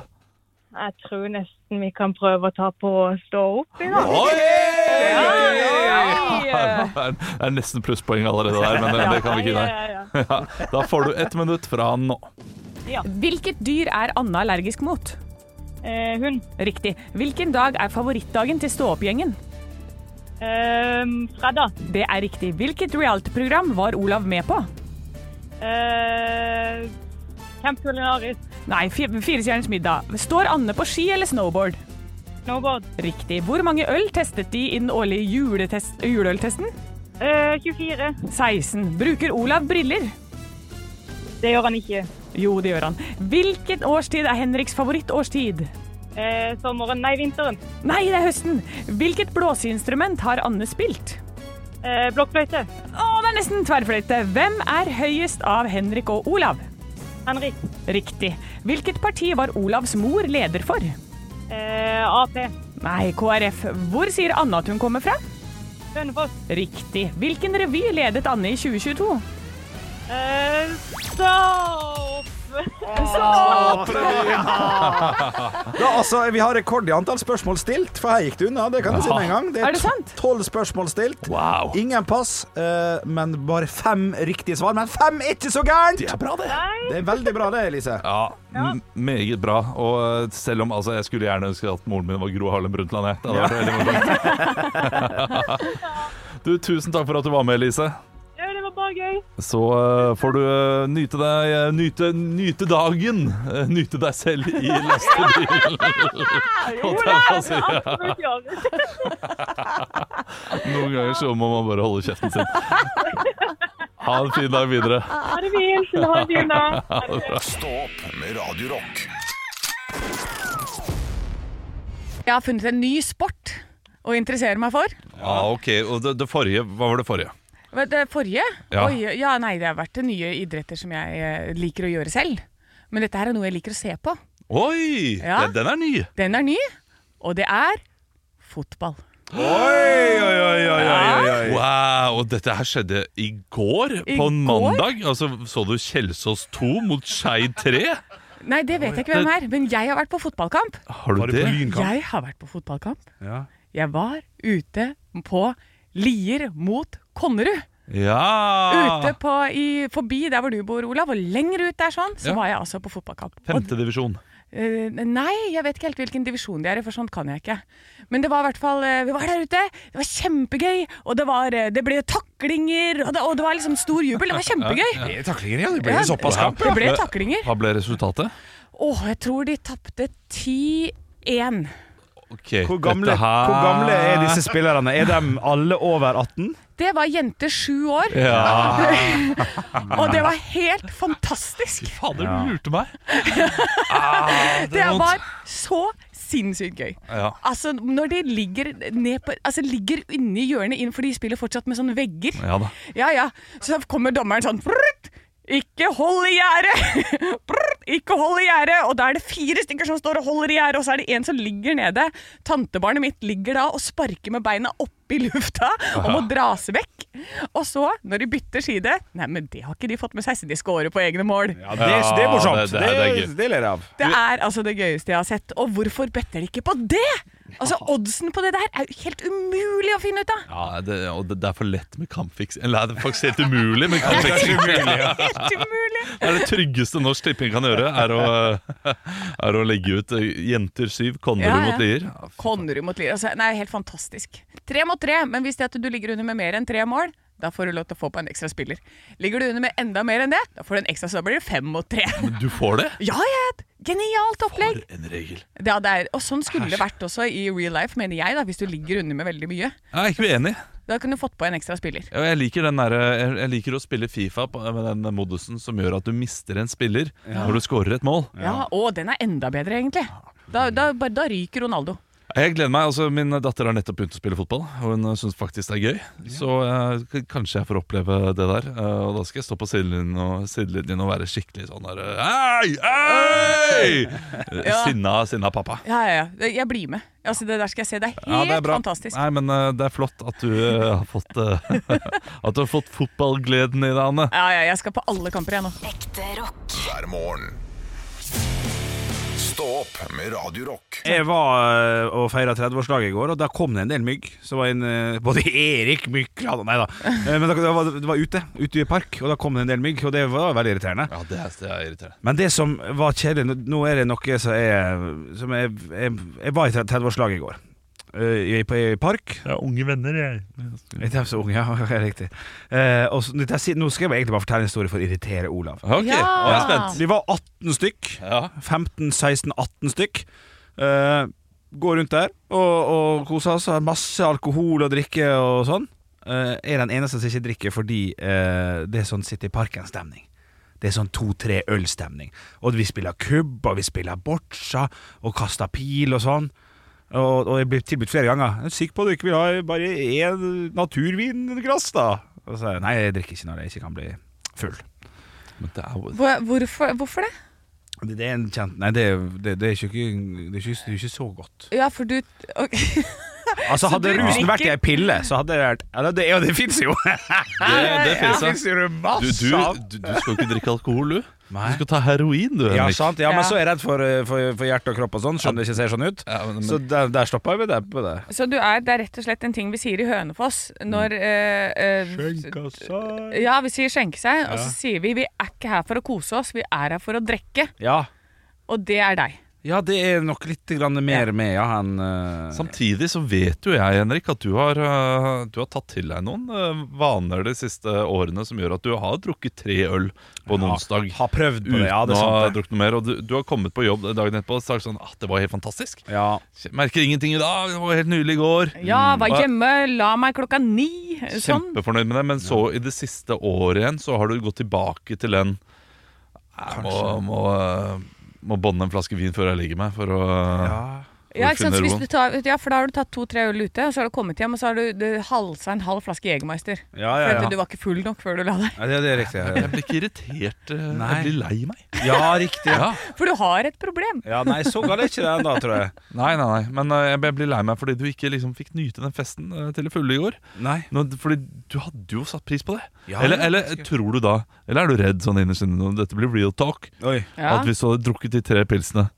S11: Jeg tror nesten vi kan prøve å ta på å stå opp i dag.
S5: Oi!
S11: Oi!
S5: Det er nesten plusspoeng allerede der, men det, det kan vi ikke.
S11: Ja,
S5: Nei.
S11: ja, ja.
S5: Ja, da får du ett minutt fra nå.
S12: Hvilket dyr er Anna allergisk mot?
S11: Eh, hund.
S12: Riktig. Hvilken dag er favorittdagen til stå-opp-gjengen?
S11: Ehm, Fredda.
S12: Det er riktig. Hvilket reality-program var Olav med på?
S11: Eh, Camp Culinaris.
S12: Nei, fi- Firestjerners middag. Står Anne på ski eller snowboard?
S11: Snowboard.
S12: Riktig. Hvor mange øl testet de i den årlige juletest juleøltesten?
S11: Eh, 24.
S12: 16. Bruker Olav briller?
S11: Det gjør han ikke.
S12: Jo, det gjør han. Hvilken årstid er Henriks favorittårstid?
S11: Eh, sommeren. Nei, vinteren.
S12: Nei, det er høsten. Hvilket blåseinstrument har Anne spilt?
S11: Eh, Blokkfløyte.
S12: Å, det er nesten tverrfløyte. Hvem er høyest av Henrik og Olav?
S11: Henrik.
S12: Riktig. Hvilket parti var Olavs mor leder for?
S11: Eh, Ap.
S12: Nei, KrF. Hvor sier Anne at hun kommer fra?
S11: Hønefoss.
S12: Riktig. Hvilken revy ledet Anne i 2022?
S11: Eh, Stopp!
S7: Ja, altså, vi har rekord i antall spørsmål stilt, for her gikk det unna. Det kan jeg si med en gang.
S12: Er det sant?
S7: tolv spørsmål stilt.
S5: Wow.
S7: Ingen pass, eh, men bare fem riktige svar. Men fem er ikke så gærent!
S5: Det er bra, det.
S7: Det er veldig bra, det, Elise.
S5: Ja, m- meget bra. Og eh, selv om altså, jeg skulle gjerne ønske at moren min var Gro Harlem Brundtland, jeg. Det hadde vært veldig morsomt. Du, tusen takk for at du var med, Elise.
S11: Ja, det var bare gøy.
S5: Så eh, får du eh, nyte deg eh, nyte, nyte dagen. eh, nyte deg selv i lastebilen.
S11: Ja,
S5: Og takk,
S11: det
S5: altså.
S11: skal absolutt gjøres.
S5: Noen ganger så må man bare holde kjeften sin. Ha en fin dag videre.
S11: Ha det fint. Ha det fint. da.
S8: Stå opp med Radio Rock.
S6: Jeg har funnet en ny sport. å interessere meg for.
S5: Ja, ok. Og det, det forrige, hva var det forrige?
S6: Vet du, forrige?
S5: Ja.
S6: Oi, ja, nei, det har vært nye idretter som jeg eh, liker å gjøre selv. Men dette her er noe jeg liker å se på.
S5: Oi!
S6: Ja.
S5: Den, den er ny!
S6: Den er ny, og det er fotball.
S5: Oi, oi, oi, oi, oi, oi. Wow, og dette her skjedde i går,
S6: I
S5: på en
S6: går?
S5: mandag. Altså, Så du Kjelsås 2 mot Skeid 3?
S6: Nei, det vet jeg ikke hvem er, men jeg har vært på fotballkamp.
S5: Har du Var du på det? lynkamp?
S6: Jeg har vært på fotballkamp.
S5: Ja.
S6: Jeg var ute på Lier mot Konnerud.
S5: Ah.
S6: Ute på, i, forbi der hvor du bor, Olav, og lenger ut der sånn, så
S5: Ja.
S6: var jeg altså på fotballkamp.
S5: Femtedivisjon.
S6: Eh, nei, jeg vet ikke helt hvilken divisjon de er i, for sånt kan jeg ikke. Men det var i hvert fall eh, Vi var der ute, det var kjempegøy, og det, var, eh, det ble taklinger, og det, og det var liksom stor jubel. Det var kjempegøy.
S5: Ja, ja.
S7: Taklinger,
S6: ja, det ble Ja, såpass kamp, ja. det ble taklinger.
S5: Hva ble resultatet?
S6: Åh, jeg tror de tapte 10-1.
S5: Ok,
S7: Hvor gamle,
S5: dette her-
S7: hvor gamle er disse spillerne? Er de alle over 18?
S6: Det var jenter sju år.
S7: Ja.
S6: og det var helt fantastisk.
S5: Fader, du lurte meg! Ah,
S6: det, var så sinnssykt gøy.
S5: Ja.
S6: Altså, når de ligger, ned på, altså, ligger inni hjørnet inn, for de spiller fortsatt med sånne vegger.
S5: Ja da.
S6: Ja, ja. Så kommer dommeren sånn prrrt, Ikke hold i gjerdet! Prrrt, Ikke hold i gjerdet! Og da er det fire stykker som står og holder i gjerdet, og så er det en som ligger nede. Tantebarnet mitt ligger da og sparker med beina opp i lufta og må dras vekk. Og så, når de bytter side Nei, men det har ikke de fått med seg, så de scorer på egne mål.
S7: det, det er morsomt.
S5: det- det er- det er gøy.
S7: ler jeg av.
S6: Det er altså det gøyeste jeg har sett. Og hvorfor better de ikke på det?! Altså, Oddsen på det der er jo helt umulig å finne ut av!
S5: Ja, det, og det, det er for lett med kampfiksing. Eller det er faktisk helt umulig med kampfiksing.
S7: Ja, det er umulig, ja.
S5: Det er det tryggeste Norsk Tipping kan gjøre, er å, er å legge ut eh, Jenter 7, Konnerud
S6: Ja, ja.
S5: mot Lier.
S6: Konnerud mot Lier. Altså, nei, helt fantastisk. Tre mot tre, men hvis det at du ligger under med mer enn tre mål, da får du lov til å få på en ekstra spiller. Ligger du under med enda mer enn det, da får du en ekstra, så da blir det fem mot tre.
S5: Men du får det?
S6: Ja, ja, et genialt opplegg!
S5: En regel.
S6: Ja, det er, og sånn skulle det vært også i real life, mener jeg, da, hvis du ligger under med veldig mye.
S5: Jeg er ikke uenig.
S6: Da kunne du fått på en ekstra spiller.
S5: Ja, Jeg liker, den der, jeg jeg liker å spille Fifa på- med den modusen som gjør at du mister en spiller
S6: Ja.
S5: når du scorer et mål.
S6: Ja, Og den er enda bedre, egentlig. Da, da, bare- da ryker Ronaldo.
S5: Jeg gleder meg, altså Min datter har nettopp begynt å spille fotball, og hun syns faktisk det er gøy. Så eh, k- kanskje jeg får oppleve det der. eh, og da skal jeg stå på sidelinjen og, sidelinjen og være skikkelig sånn der eh, Hei! Hei!
S6: Ja.
S5: Sinna, sinna pappa.
S6: Ja, ja, ja. Jeg blir med. Altså, det der skal jeg se. Det er helt
S5: Ja, det er bra.
S6: fantastisk.
S5: Nei, men eh, det er flott at du eh, har fått eh, At du har fått fotballgleden i deg, Anne.
S6: Ja, ja, jeg skal på alle kamper, jeg nå.
S8: Ekte rock. Hver morgen. Stå opp med Radio Rock.
S7: Jeg var øh, og feira 30-årslaget i går, og da kom det en del mygg. Så var en, øh, både Erik Mykland Nei da. Eh, Men da- det var, det var ute ute i park, og da kom det en del mygg, og det var veldig irriterende.
S5: Ja, det er, det er irriterende.
S7: Men det som var kjedelig Nå nå er det noe som er som jeg, jeg, jeg var i 30-årslaget i går. Eh, I, på, I park.
S5: Jeg er unge venner, jeg.
S7: Jeg er så ung, ja. det er Riktig. Eh, og så, dette si- nå skal jeg egentlig bare fortelle en historie for å irritere Olav.
S5: Ok, Ja. nå er jeg spent.
S7: Vi var 18 stykk. 15-16-18 stykk. Eh, går rundt der og, og koser oss. Har masse alkohol å drikke og sånn. Eh, er den eneste som ikke drikker fordi eh, det er sånn sitte i parken-stemning. Det er sånn to-tre øl-stemning. Og vi spiller kubb, og vi spiller boccia, og kaster pil og sånn. Og, og jeg ble tilbudt flere ganger. Jeg er sikker på at du ikke vil ha bare én naturvinglass, da? Og så sa jeg nei, jeg drikker ikke når jeg ikke kan bli full.
S5: Men det er jo
S6: Hvor- Hvorfor, hvorfor det?
S7: det, det er en kjent Nei, det, det, det, er, ikke, det, er, ikke, det er ikke så godt.
S6: Ja, for du ok.
S7: Altså
S6: Så
S7: Hadde
S6: du
S7: rusen vært i
S6: drikker-
S7: ei pille, så hadde det vært Ja, det, ja, det fins jo!
S5: Det, det finnes,
S7: finnes jo det masse
S5: du, du,
S7: av.
S5: du, du skal jo ikke drikke alkohol, du. Du skal ta heroin, du,
S7: Ja,
S5: Henrik.
S7: sant. ja, men så er jeg redd for, eh, for, for hjerte og kropp og sånn, skjønner det ikke ser sånn ut. Så der, der stoppa vi det på det.
S6: Så du er, det er rett og slett en ting vi sier i Hønefoss når
S5: Mm.
S6: eh, eh, Ja, vi sier skjenke seg, og
S7: Ja.
S6: så sier vi vi er ikke her for å kose oss, vi er her for å drikke.
S7: Ja.
S6: Og det er deg.
S7: ja, det er nok litt grann mer med, ja, han eh,
S5: Samtidig så vet jo jeg, Henrik, at du har, øh, du har tatt til deg noen øh, vaner de siste årene som gjør at du har drukket tre øl på en onsdag.
S7: Har prøvd på
S5: uten
S7: det, ja, det er
S5: å ha
S7: sant det.
S5: drukket noe mer. Og du, du har kommet på jobb dagen etterpå og sagt sånn at det var helt fantastisk. Merker ingenting i dag, det var helt nydelig i går.
S6: Ja,
S5: Mm.
S6: var
S5: Og jeg
S6: hjemme, la meg klokka ni.
S5: er
S6: Sånn.
S5: Kjempefornøyd med det, men så i det siste året igjen så har du gått tilbake til den Jeg må, må, øh, må bånde en flaske vin før jeg legger meg, for å
S7: Ja.
S6: Ja, ikke sant?
S5: finne
S6: Så Hvis
S5: roen.
S6: du tar, ja, for da har du tatt to-tre øl ute, og så har du kommet hjem, og så har du, du halsa en halv flaske Jegermeister.
S7: Ja, ja,
S6: For
S7: ja.
S6: at du var ikke full nok før du la deg.
S7: Ja, det, det er riktig. Ja,
S5: Jeg blir ikke irritert. eh,
S7: Nei.
S5: Jeg blir lei meg.
S7: Ja, riktig. Ja.
S6: For du har et problem.
S7: Ja, nei, så gal er ikke det ennå, tror jeg.
S5: Nei, nei, nei. Men eh, jeg blir lei meg fordi du ikke liksom fikk nyte den festen eh, til det fulle i går.
S7: Nei.
S5: Nå, fordi du hadde jo satt pris på det.
S7: Ja,
S5: eller,
S7: ja,
S5: eller tror du da Eller er du redd sånn innerst inne nå, Dette blir real talk.
S7: Oi.
S5: At hvis du hadde drukket de tre pilsene,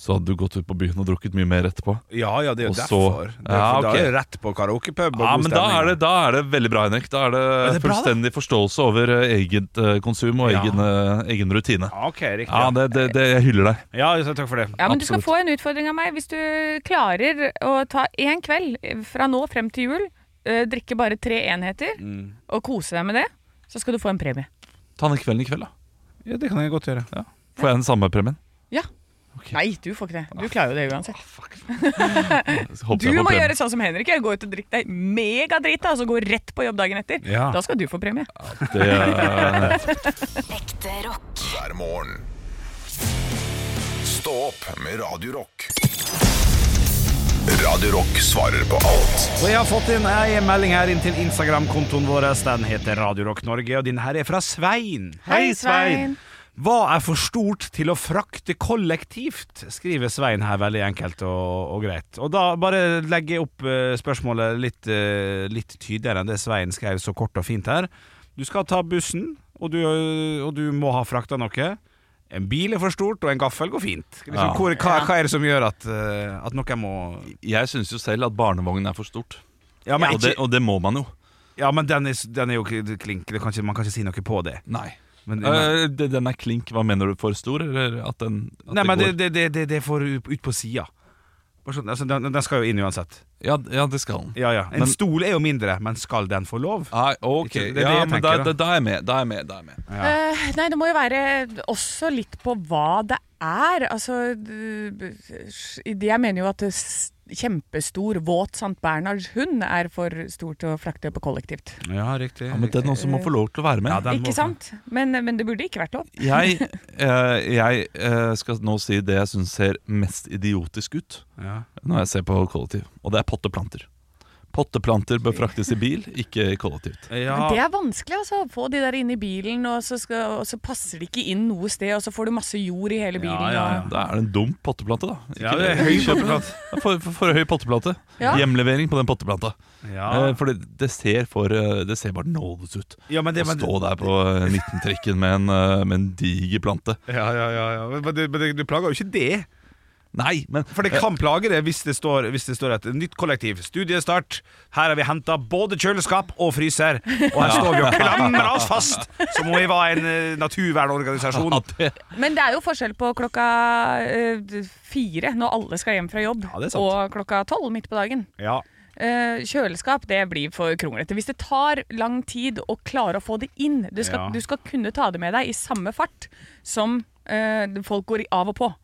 S5: så hadde du gått ut på byen og drukket mye mer etterpå.
S7: Ja, ja, det er jo
S5: Og så-
S7: derfor. Det er,
S5: Ja,
S7: for Da
S5: ok.
S7: er det rett på karaokepub og
S5: Ja,
S7: god
S5: men da
S7: stemning.
S5: er, det, da er det veldig bra, Henrik. Da er det,
S7: Ja, det er bra, da.
S5: fullstendig forståelse over eh, eget eh, konsum og
S7: Ja.
S5: egen, eh, egen rutine.
S7: Ja, ok, riktig.
S5: Ja, det, det, det, jeg hyller deg.
S7: Ja, så takk for det.
S6: Ja, men du skal få en utfordring av meg. Hvis du klarer å ta én kveld eh, fra nå frem til jul, eh, drikke bare tre enheter
S5: Mm.
S6: og kose deg med det, så skal du få en premie.
S5: Ta den kvelden i kveld, da.
S7: Ja, det kan jeg godt gjøre.
S5: Får jeg den samme premien?
S6: Ja. Nei, du får ikke det. Du klarer jo det uansett.
S5: håper
S6: Du
S5: jeg får
S6: må
S5: premie.
S6: gjøre sånn som Henrik gjør. Gå ut og drikke deg megadrita, og så gå rett på jobb dagen etter.
S5: Ja.
S6: Da skal du få premie.
S5: Det, eh,
S8: Ekte rock. Hver morgen. Stå opp med Radio Rock. Radio Rock svarer på alt.
S7: Og jeg har fått inn en melding her inn til Instagram-kontoen vår. Den heter Radio Rock Norge, og din her er fra Svein.
S10: Hei, Svein.
S7: Hva er for stort til å frakte kollektivt? Skriver Svein her veldig enkelt og, og greit. Og da bare legger jeg opp eh, spørsmålet litt, eh, litt tydeligere enn det Svein skrev så kort og fint her. Du skal ta bussen, og du, eh, og du må ha frakta noe. En bil er for stort, og en gaffel går fint. Liksom,
S5: Ja.
S7: hvor, hva, hva er det som gjør at, eh, at noen må
S5: Jeg syns jo selv at barnevogn er for stort.
S7: Ja, men
S5: og,
S7: ikke-
S5: det, og det må man jo.
S7: Ja, men den er, den er jo ikke klink. Det kan ikke, man kan ikke si noe på det.
S5: Nei.
S7: Men,
S5: Eh, det- den er klink. Hva mener du? For stor? Eller at den at
S7: nei, men
S5: går?
S7: det, det, det, det, det får du ut på sida. Bare sånn, Altså, den, den skal jo inn uansett.
S5: Ja, d- ja, det skal den.
S7: Ja, ja. En
S5: Men-
S7: stol er jo mindre, men skal den få lov?
S5: Nei, ok,
S7: Ikke- det er det
S5: ja, men
S7: jeg
S5: da,
S7: tenker,
S5: da, da
S7: da.
S5: er jeg med. Da er jeg med, da er jeg med.
S6: Eh, nei, det må jo være også litt på hva det er. Altså, du- b- jeg mener jo at s- kjempestor, våt Sankt Bernhards hund er for stor til å frakte på kollektivt.
S7: Ja, riktig.
S5: Ja, men den også må få lov til å være med.
S6: ikke sant? Men, men det burde ikke vært lov.
S5: Jeg, eh, jeg eh, skal nå si det jeg syns ser mest idiotisk ut
S7: Ja.
S5: når jeg ser på kollektiv, og det er potteplanter. Potteplanter bør fraktes i bil, ikke kollektivt.
S6: Men det er vanskelig, altså. Få de der inn i bilen, og så, skal, og så passer de ikke inn noe sted, og så får du masse jord i hele bilen. og-
S5: Da er det en dum potteplante, da.
S7: Ja, det er høy potteplante.
S5: For, for, for høy potteplante.
S7: Ja.
S5: Hjemlevering på den potteplanta.
S7: Ja.
S5: Eh, For det, det, ser for, eh, det ser bare nådes ut.
S7: Ja, men det-
S5: Å
S7: men-
S5: stå der på eh, 19-trikken med, en, eh, med en diger plante.
S7: Ja, ja, ja, ja. Men, men, det- men det- du plager jo ikke det.
S5: Nei, men
S7: For det kan plage det hvis det står, hvis det står et nytt kollektiv. Studiestart. Her har vi henta både kjøleskap og fryser. Og her står vi og klamrer oss fast som om vi var en eh, naturvernorganisasjon.
S6: Men det er jo forskjell på klokka eh, fire, når alle skal hjem fra jobb,
S7: det er sant.
S6: og klokka tolv midt på dagen.
S7: Ja.
S6: Eh, kjøleskap det blir for kronglete. Hvis det tar lang tid å klare å få det inn Du skal,
S7: Ja.
S6: du skal kunne ta det med deg i samme fart som eh, folk går i- av og på.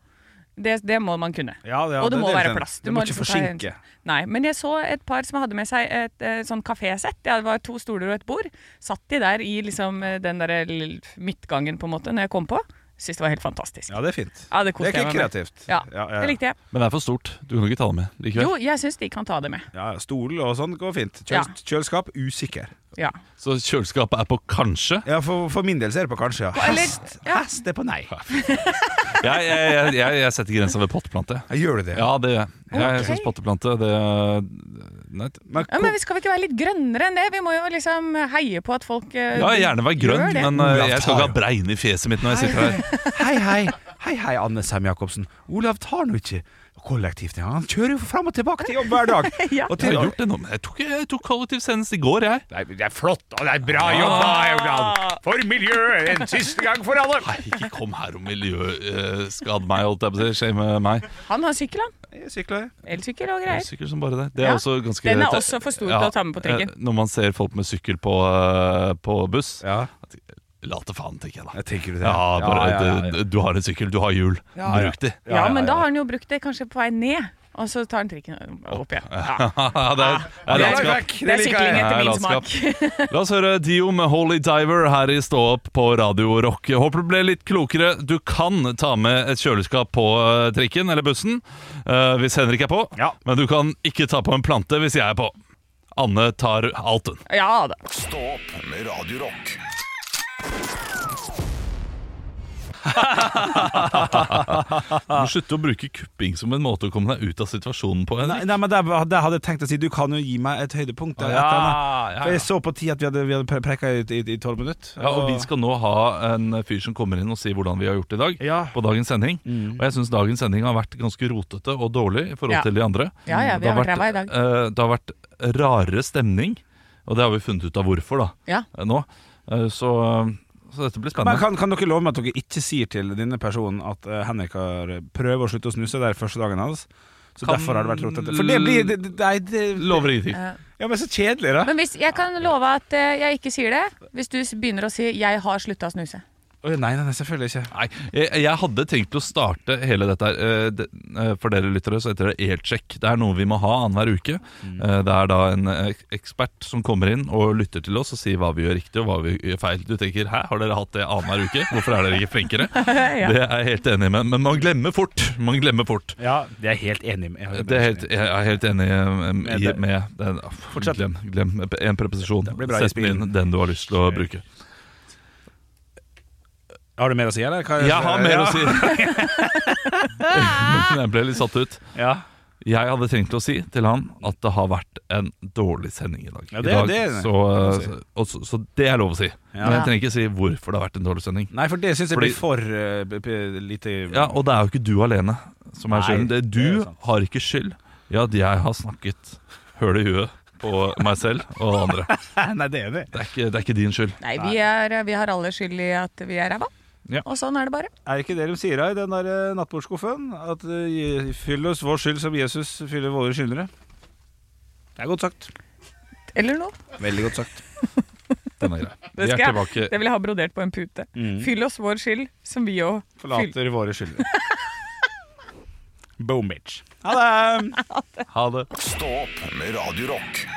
S6: Det, det må man kunne.
S7: Ja, ja,
S6: og det,
S7: det-
S6: må
S7: det er
S6: være
S7: sant.
S6: plass.
S7: Det må ikke
S6: liksom ta
S7: forsinke.
S6: hensyn. Nei, Men jeg så et par som hadde med seg et, eh, sånn kafésett. Ja, det var to stoler og et bord. Satt de der i liksom, eh, den der l- midtgangen på en måte når jeg kom på. Syns det var helt fantastisk.
S7: Ja, det er fint.
S6: Ja, det koste
S7: Det er
S6: jeg meg med.
S7: kreativt.
S6: Ja,
S7: Ja, ja, ja.
S6: Det likte jeg.
S5: Men det er for stort. Du kan ikke ta det med likevel.
S6: Jo, jeg syns de kan ta det med.
S7: Ja, ja, stol og sånn går fint. Kjøl,
S6: Ja.
S7: Kjøleskap usikker.
S6: Ja.
S5: Så kjøleskapet er på kanskje?
S7: Ja, for, for min del så er det på kanskje. Ja.
S6: Eller-
S7: Hest, hest er på nei.
S5: Jeg, jeg, jeg, jeg, jeg setter grensa ved potteplante.
S7: Gjør du det?
S5: Ja, det gjør jeg. Jeg
S6: Ok.
S5: syns potteplante det Nei.
S6: Ja, men vi skal vi ikke være litt grønnere enn det? Vi må jo liksom heie på at folk eh,
S5: Ja, gjerne være grønn,
S6: gjør det.
S5: men eh, jeg skal ikke ha bregne i fjeset mitt når jeg sitter her.
S7: Hei, hei. Hei, hei, Anne Sem Jacobsen. Olav tar nå ikke kollektivt. Ja. Han kjører jo fram og tilbake til jobb hver dag.
S5: Ja.
S7: Og
S5: Jeg
S7: til,
S5: har gjort det nå, men jeg tok, jeg tok kollektiv senest i går, jeg. Ah!
S7: Nei, det er flott, og det er bra jobba, Augland. For miljøet, en siste gang for alle.
S5: Nei, ikke kom her og miljøskade meg, holdt jeg på å si. Shame eh, meg.
S6: Han har sykkel, han.
S7: Sykler.
S6: Elsykkel og
S5: Jeg er
S6: greier.
S5: Sykkel som bare det. Det er
S6: Ja,
S5: også ganske
S6: den er også for stor til å ta med på trikken.
S5: eh, Når man ser folk med sykkel på, eh, på buss at- Late faen, tenker jeg da.
S7: Tenker du det?
S5: Ja, bare,
S7: Ja, ja, ja,
S5: det- Du har en sykkel, du har hjul.
S6: Ja,
S5: Bruk de.
S6: Ja, men da har han jo brukt det kanskje på vei ned. Og så tar han trikken opp igjen. Ja.
S5: Ja, det er, det er
S6: Det er-
S5: latskap.
S6: det er sykling etter
S5: Ja,
S6: min
S5: latskap. La oss høre Dio med Holy Diver her i Stå opp på Radio Rock. Jeg håper du ble litt klokere. Du kan ta med et kjøleskap på eh, trikken eller bussen eh, hvis Henrik er på, men du kan ikke ta på en plante hvis jeg er på. Anne tar alt, hun.
S6: Ja da.
S8: Stå opp med Radio Rock.
S5: Du må slutte å bruke kupping som en måte å komme deg ut av situasjonen på.
S7: Nei, nei, men der, der hadde jeg tenkt å si Du kan jo gi meg et høydepunkt.
S5: Ja,
S7: eller et eller annet.
S5: ja, ja.
S7: For jeg så på tid at vi hadde, vi hadde pre- prekka i- i i tolv minutter.
S5: Ja, og vi skal nå ha en fyr som kommer inn og sier hvordan vi har gjort det i dag. På dagens sending Og jeg syns dagens sending har vært ganske rotete og dårlig i forhold
S6: Mm. Ja.
S5: til de andre. Mm.
S6: Ja, ja, vi
S5: Det
S6: har vært ræva i dag.
S5: eh, det har vært rarere stemning, og det har vi funnet ut av hvorfor da
S6: Ja.
S5: eh, nå. Eh, så, så dette blir
S7: Men
S5: spennende.
S7: kan, kan dere love meg at dere ikke sier til denne personen at eh, Henrik har prøver å slutte å snuse? Det er første dagen hans. Så
S5: Kan-
S7: derfor har det vært rotete. For det blir det, det, nei, det,
S5: Lover ingenting.
S6: Eh,
S7: Ja, men så kjedelig, da.
S6: Men hvis, jeg kan love at eh, jeg ikke sier det hvis du s- begynner å si 'jeg har slutta å snuse'.
S7: Å, nei, nei, nei, selvfølgelig ikke.
S5: Nei, jeg, jeg hadde tenkt å starte hele dette her eh, det- eh, For dere lyttere så heter det Elcheck. Det er noe vi må ha annenhver uke.
S7: Mm.
S5: Eh, Det er da en eh, ekspert som kommer inn og lytter til oss og sier hva vi gjør riktig og hva vi gjør feil. Du tenker 'hæ, har dere hatt det annenhver uke? Hvorfor er dere ikke flinkere?'
S7: Ja.
S5: Det er jeg helt enig med, men man glemmer fort. Man glemmer fort.
S7: Ja, det er jeg helt enig med. Jeg,
S5: Det er helt, jeg er helt enig eh,
S7: Med
S5: i,
S7: deg.
S5: med den, ah,
S7: Fortsett.
S5: Glem, glem en preposisjon.
S7: blir bra i
S5: Sett den
S7: spill.
S5: inn den du har lyst til å bruke.
S7: Har du mer å si, eller? Hva-
S5: Jeg har mer å
S7: Ja.
S5: si. Men jeg ble litt satt ut. Jeg hadde tenkt å si til han at det har vært en dårlig sending i dag.
S7: Ja, det-
S5: I dag
S7: det er det.
S5: så,
S7: Lov å si.
S5: så, og så, så det er lov å si.
S7: Ja.
S5: Men jeg trenger ikke si hvorfor det har vært en dårlig sending.
S7: Nei, for det syns jeg
S5: Fordi-
S7: blir for eh, b- b- lite
S5: Ja, Og det er jo ikke du alene som er
S7: Nei,
S5: skylden. Det- Du har ikke skyld i at jeg har snakket høl i huet på meg selv og andre.
S7: Nei, det er det.
S5: Det er ikke, det er ikke din skyld.
S6: Nei, vi, er, eh, vi har alle skyld i at vi er ræva.
S5: Ja.
S6: Og sånn er det bare.
S7: Er ikke det de sier da, i den der eh, nattbordskuffen? At eh, Je- fyll oss vår skyld som Jesus fyller våre skyldnere. Det er godt sagt.
S6: Eller noe.
S7: Veldig godt sagt.
S5: Den er grei.
S6: Det, skal jeg, det vil jeg ha brodert på en pute.
S7: Mm.
S6: Fyll oss vår skyld, som vi òg
S7: Forlater våre skyldnere. Boom, bitch. Ha det!
S5: Ha det.
S8: Stå opp med Radio Rock.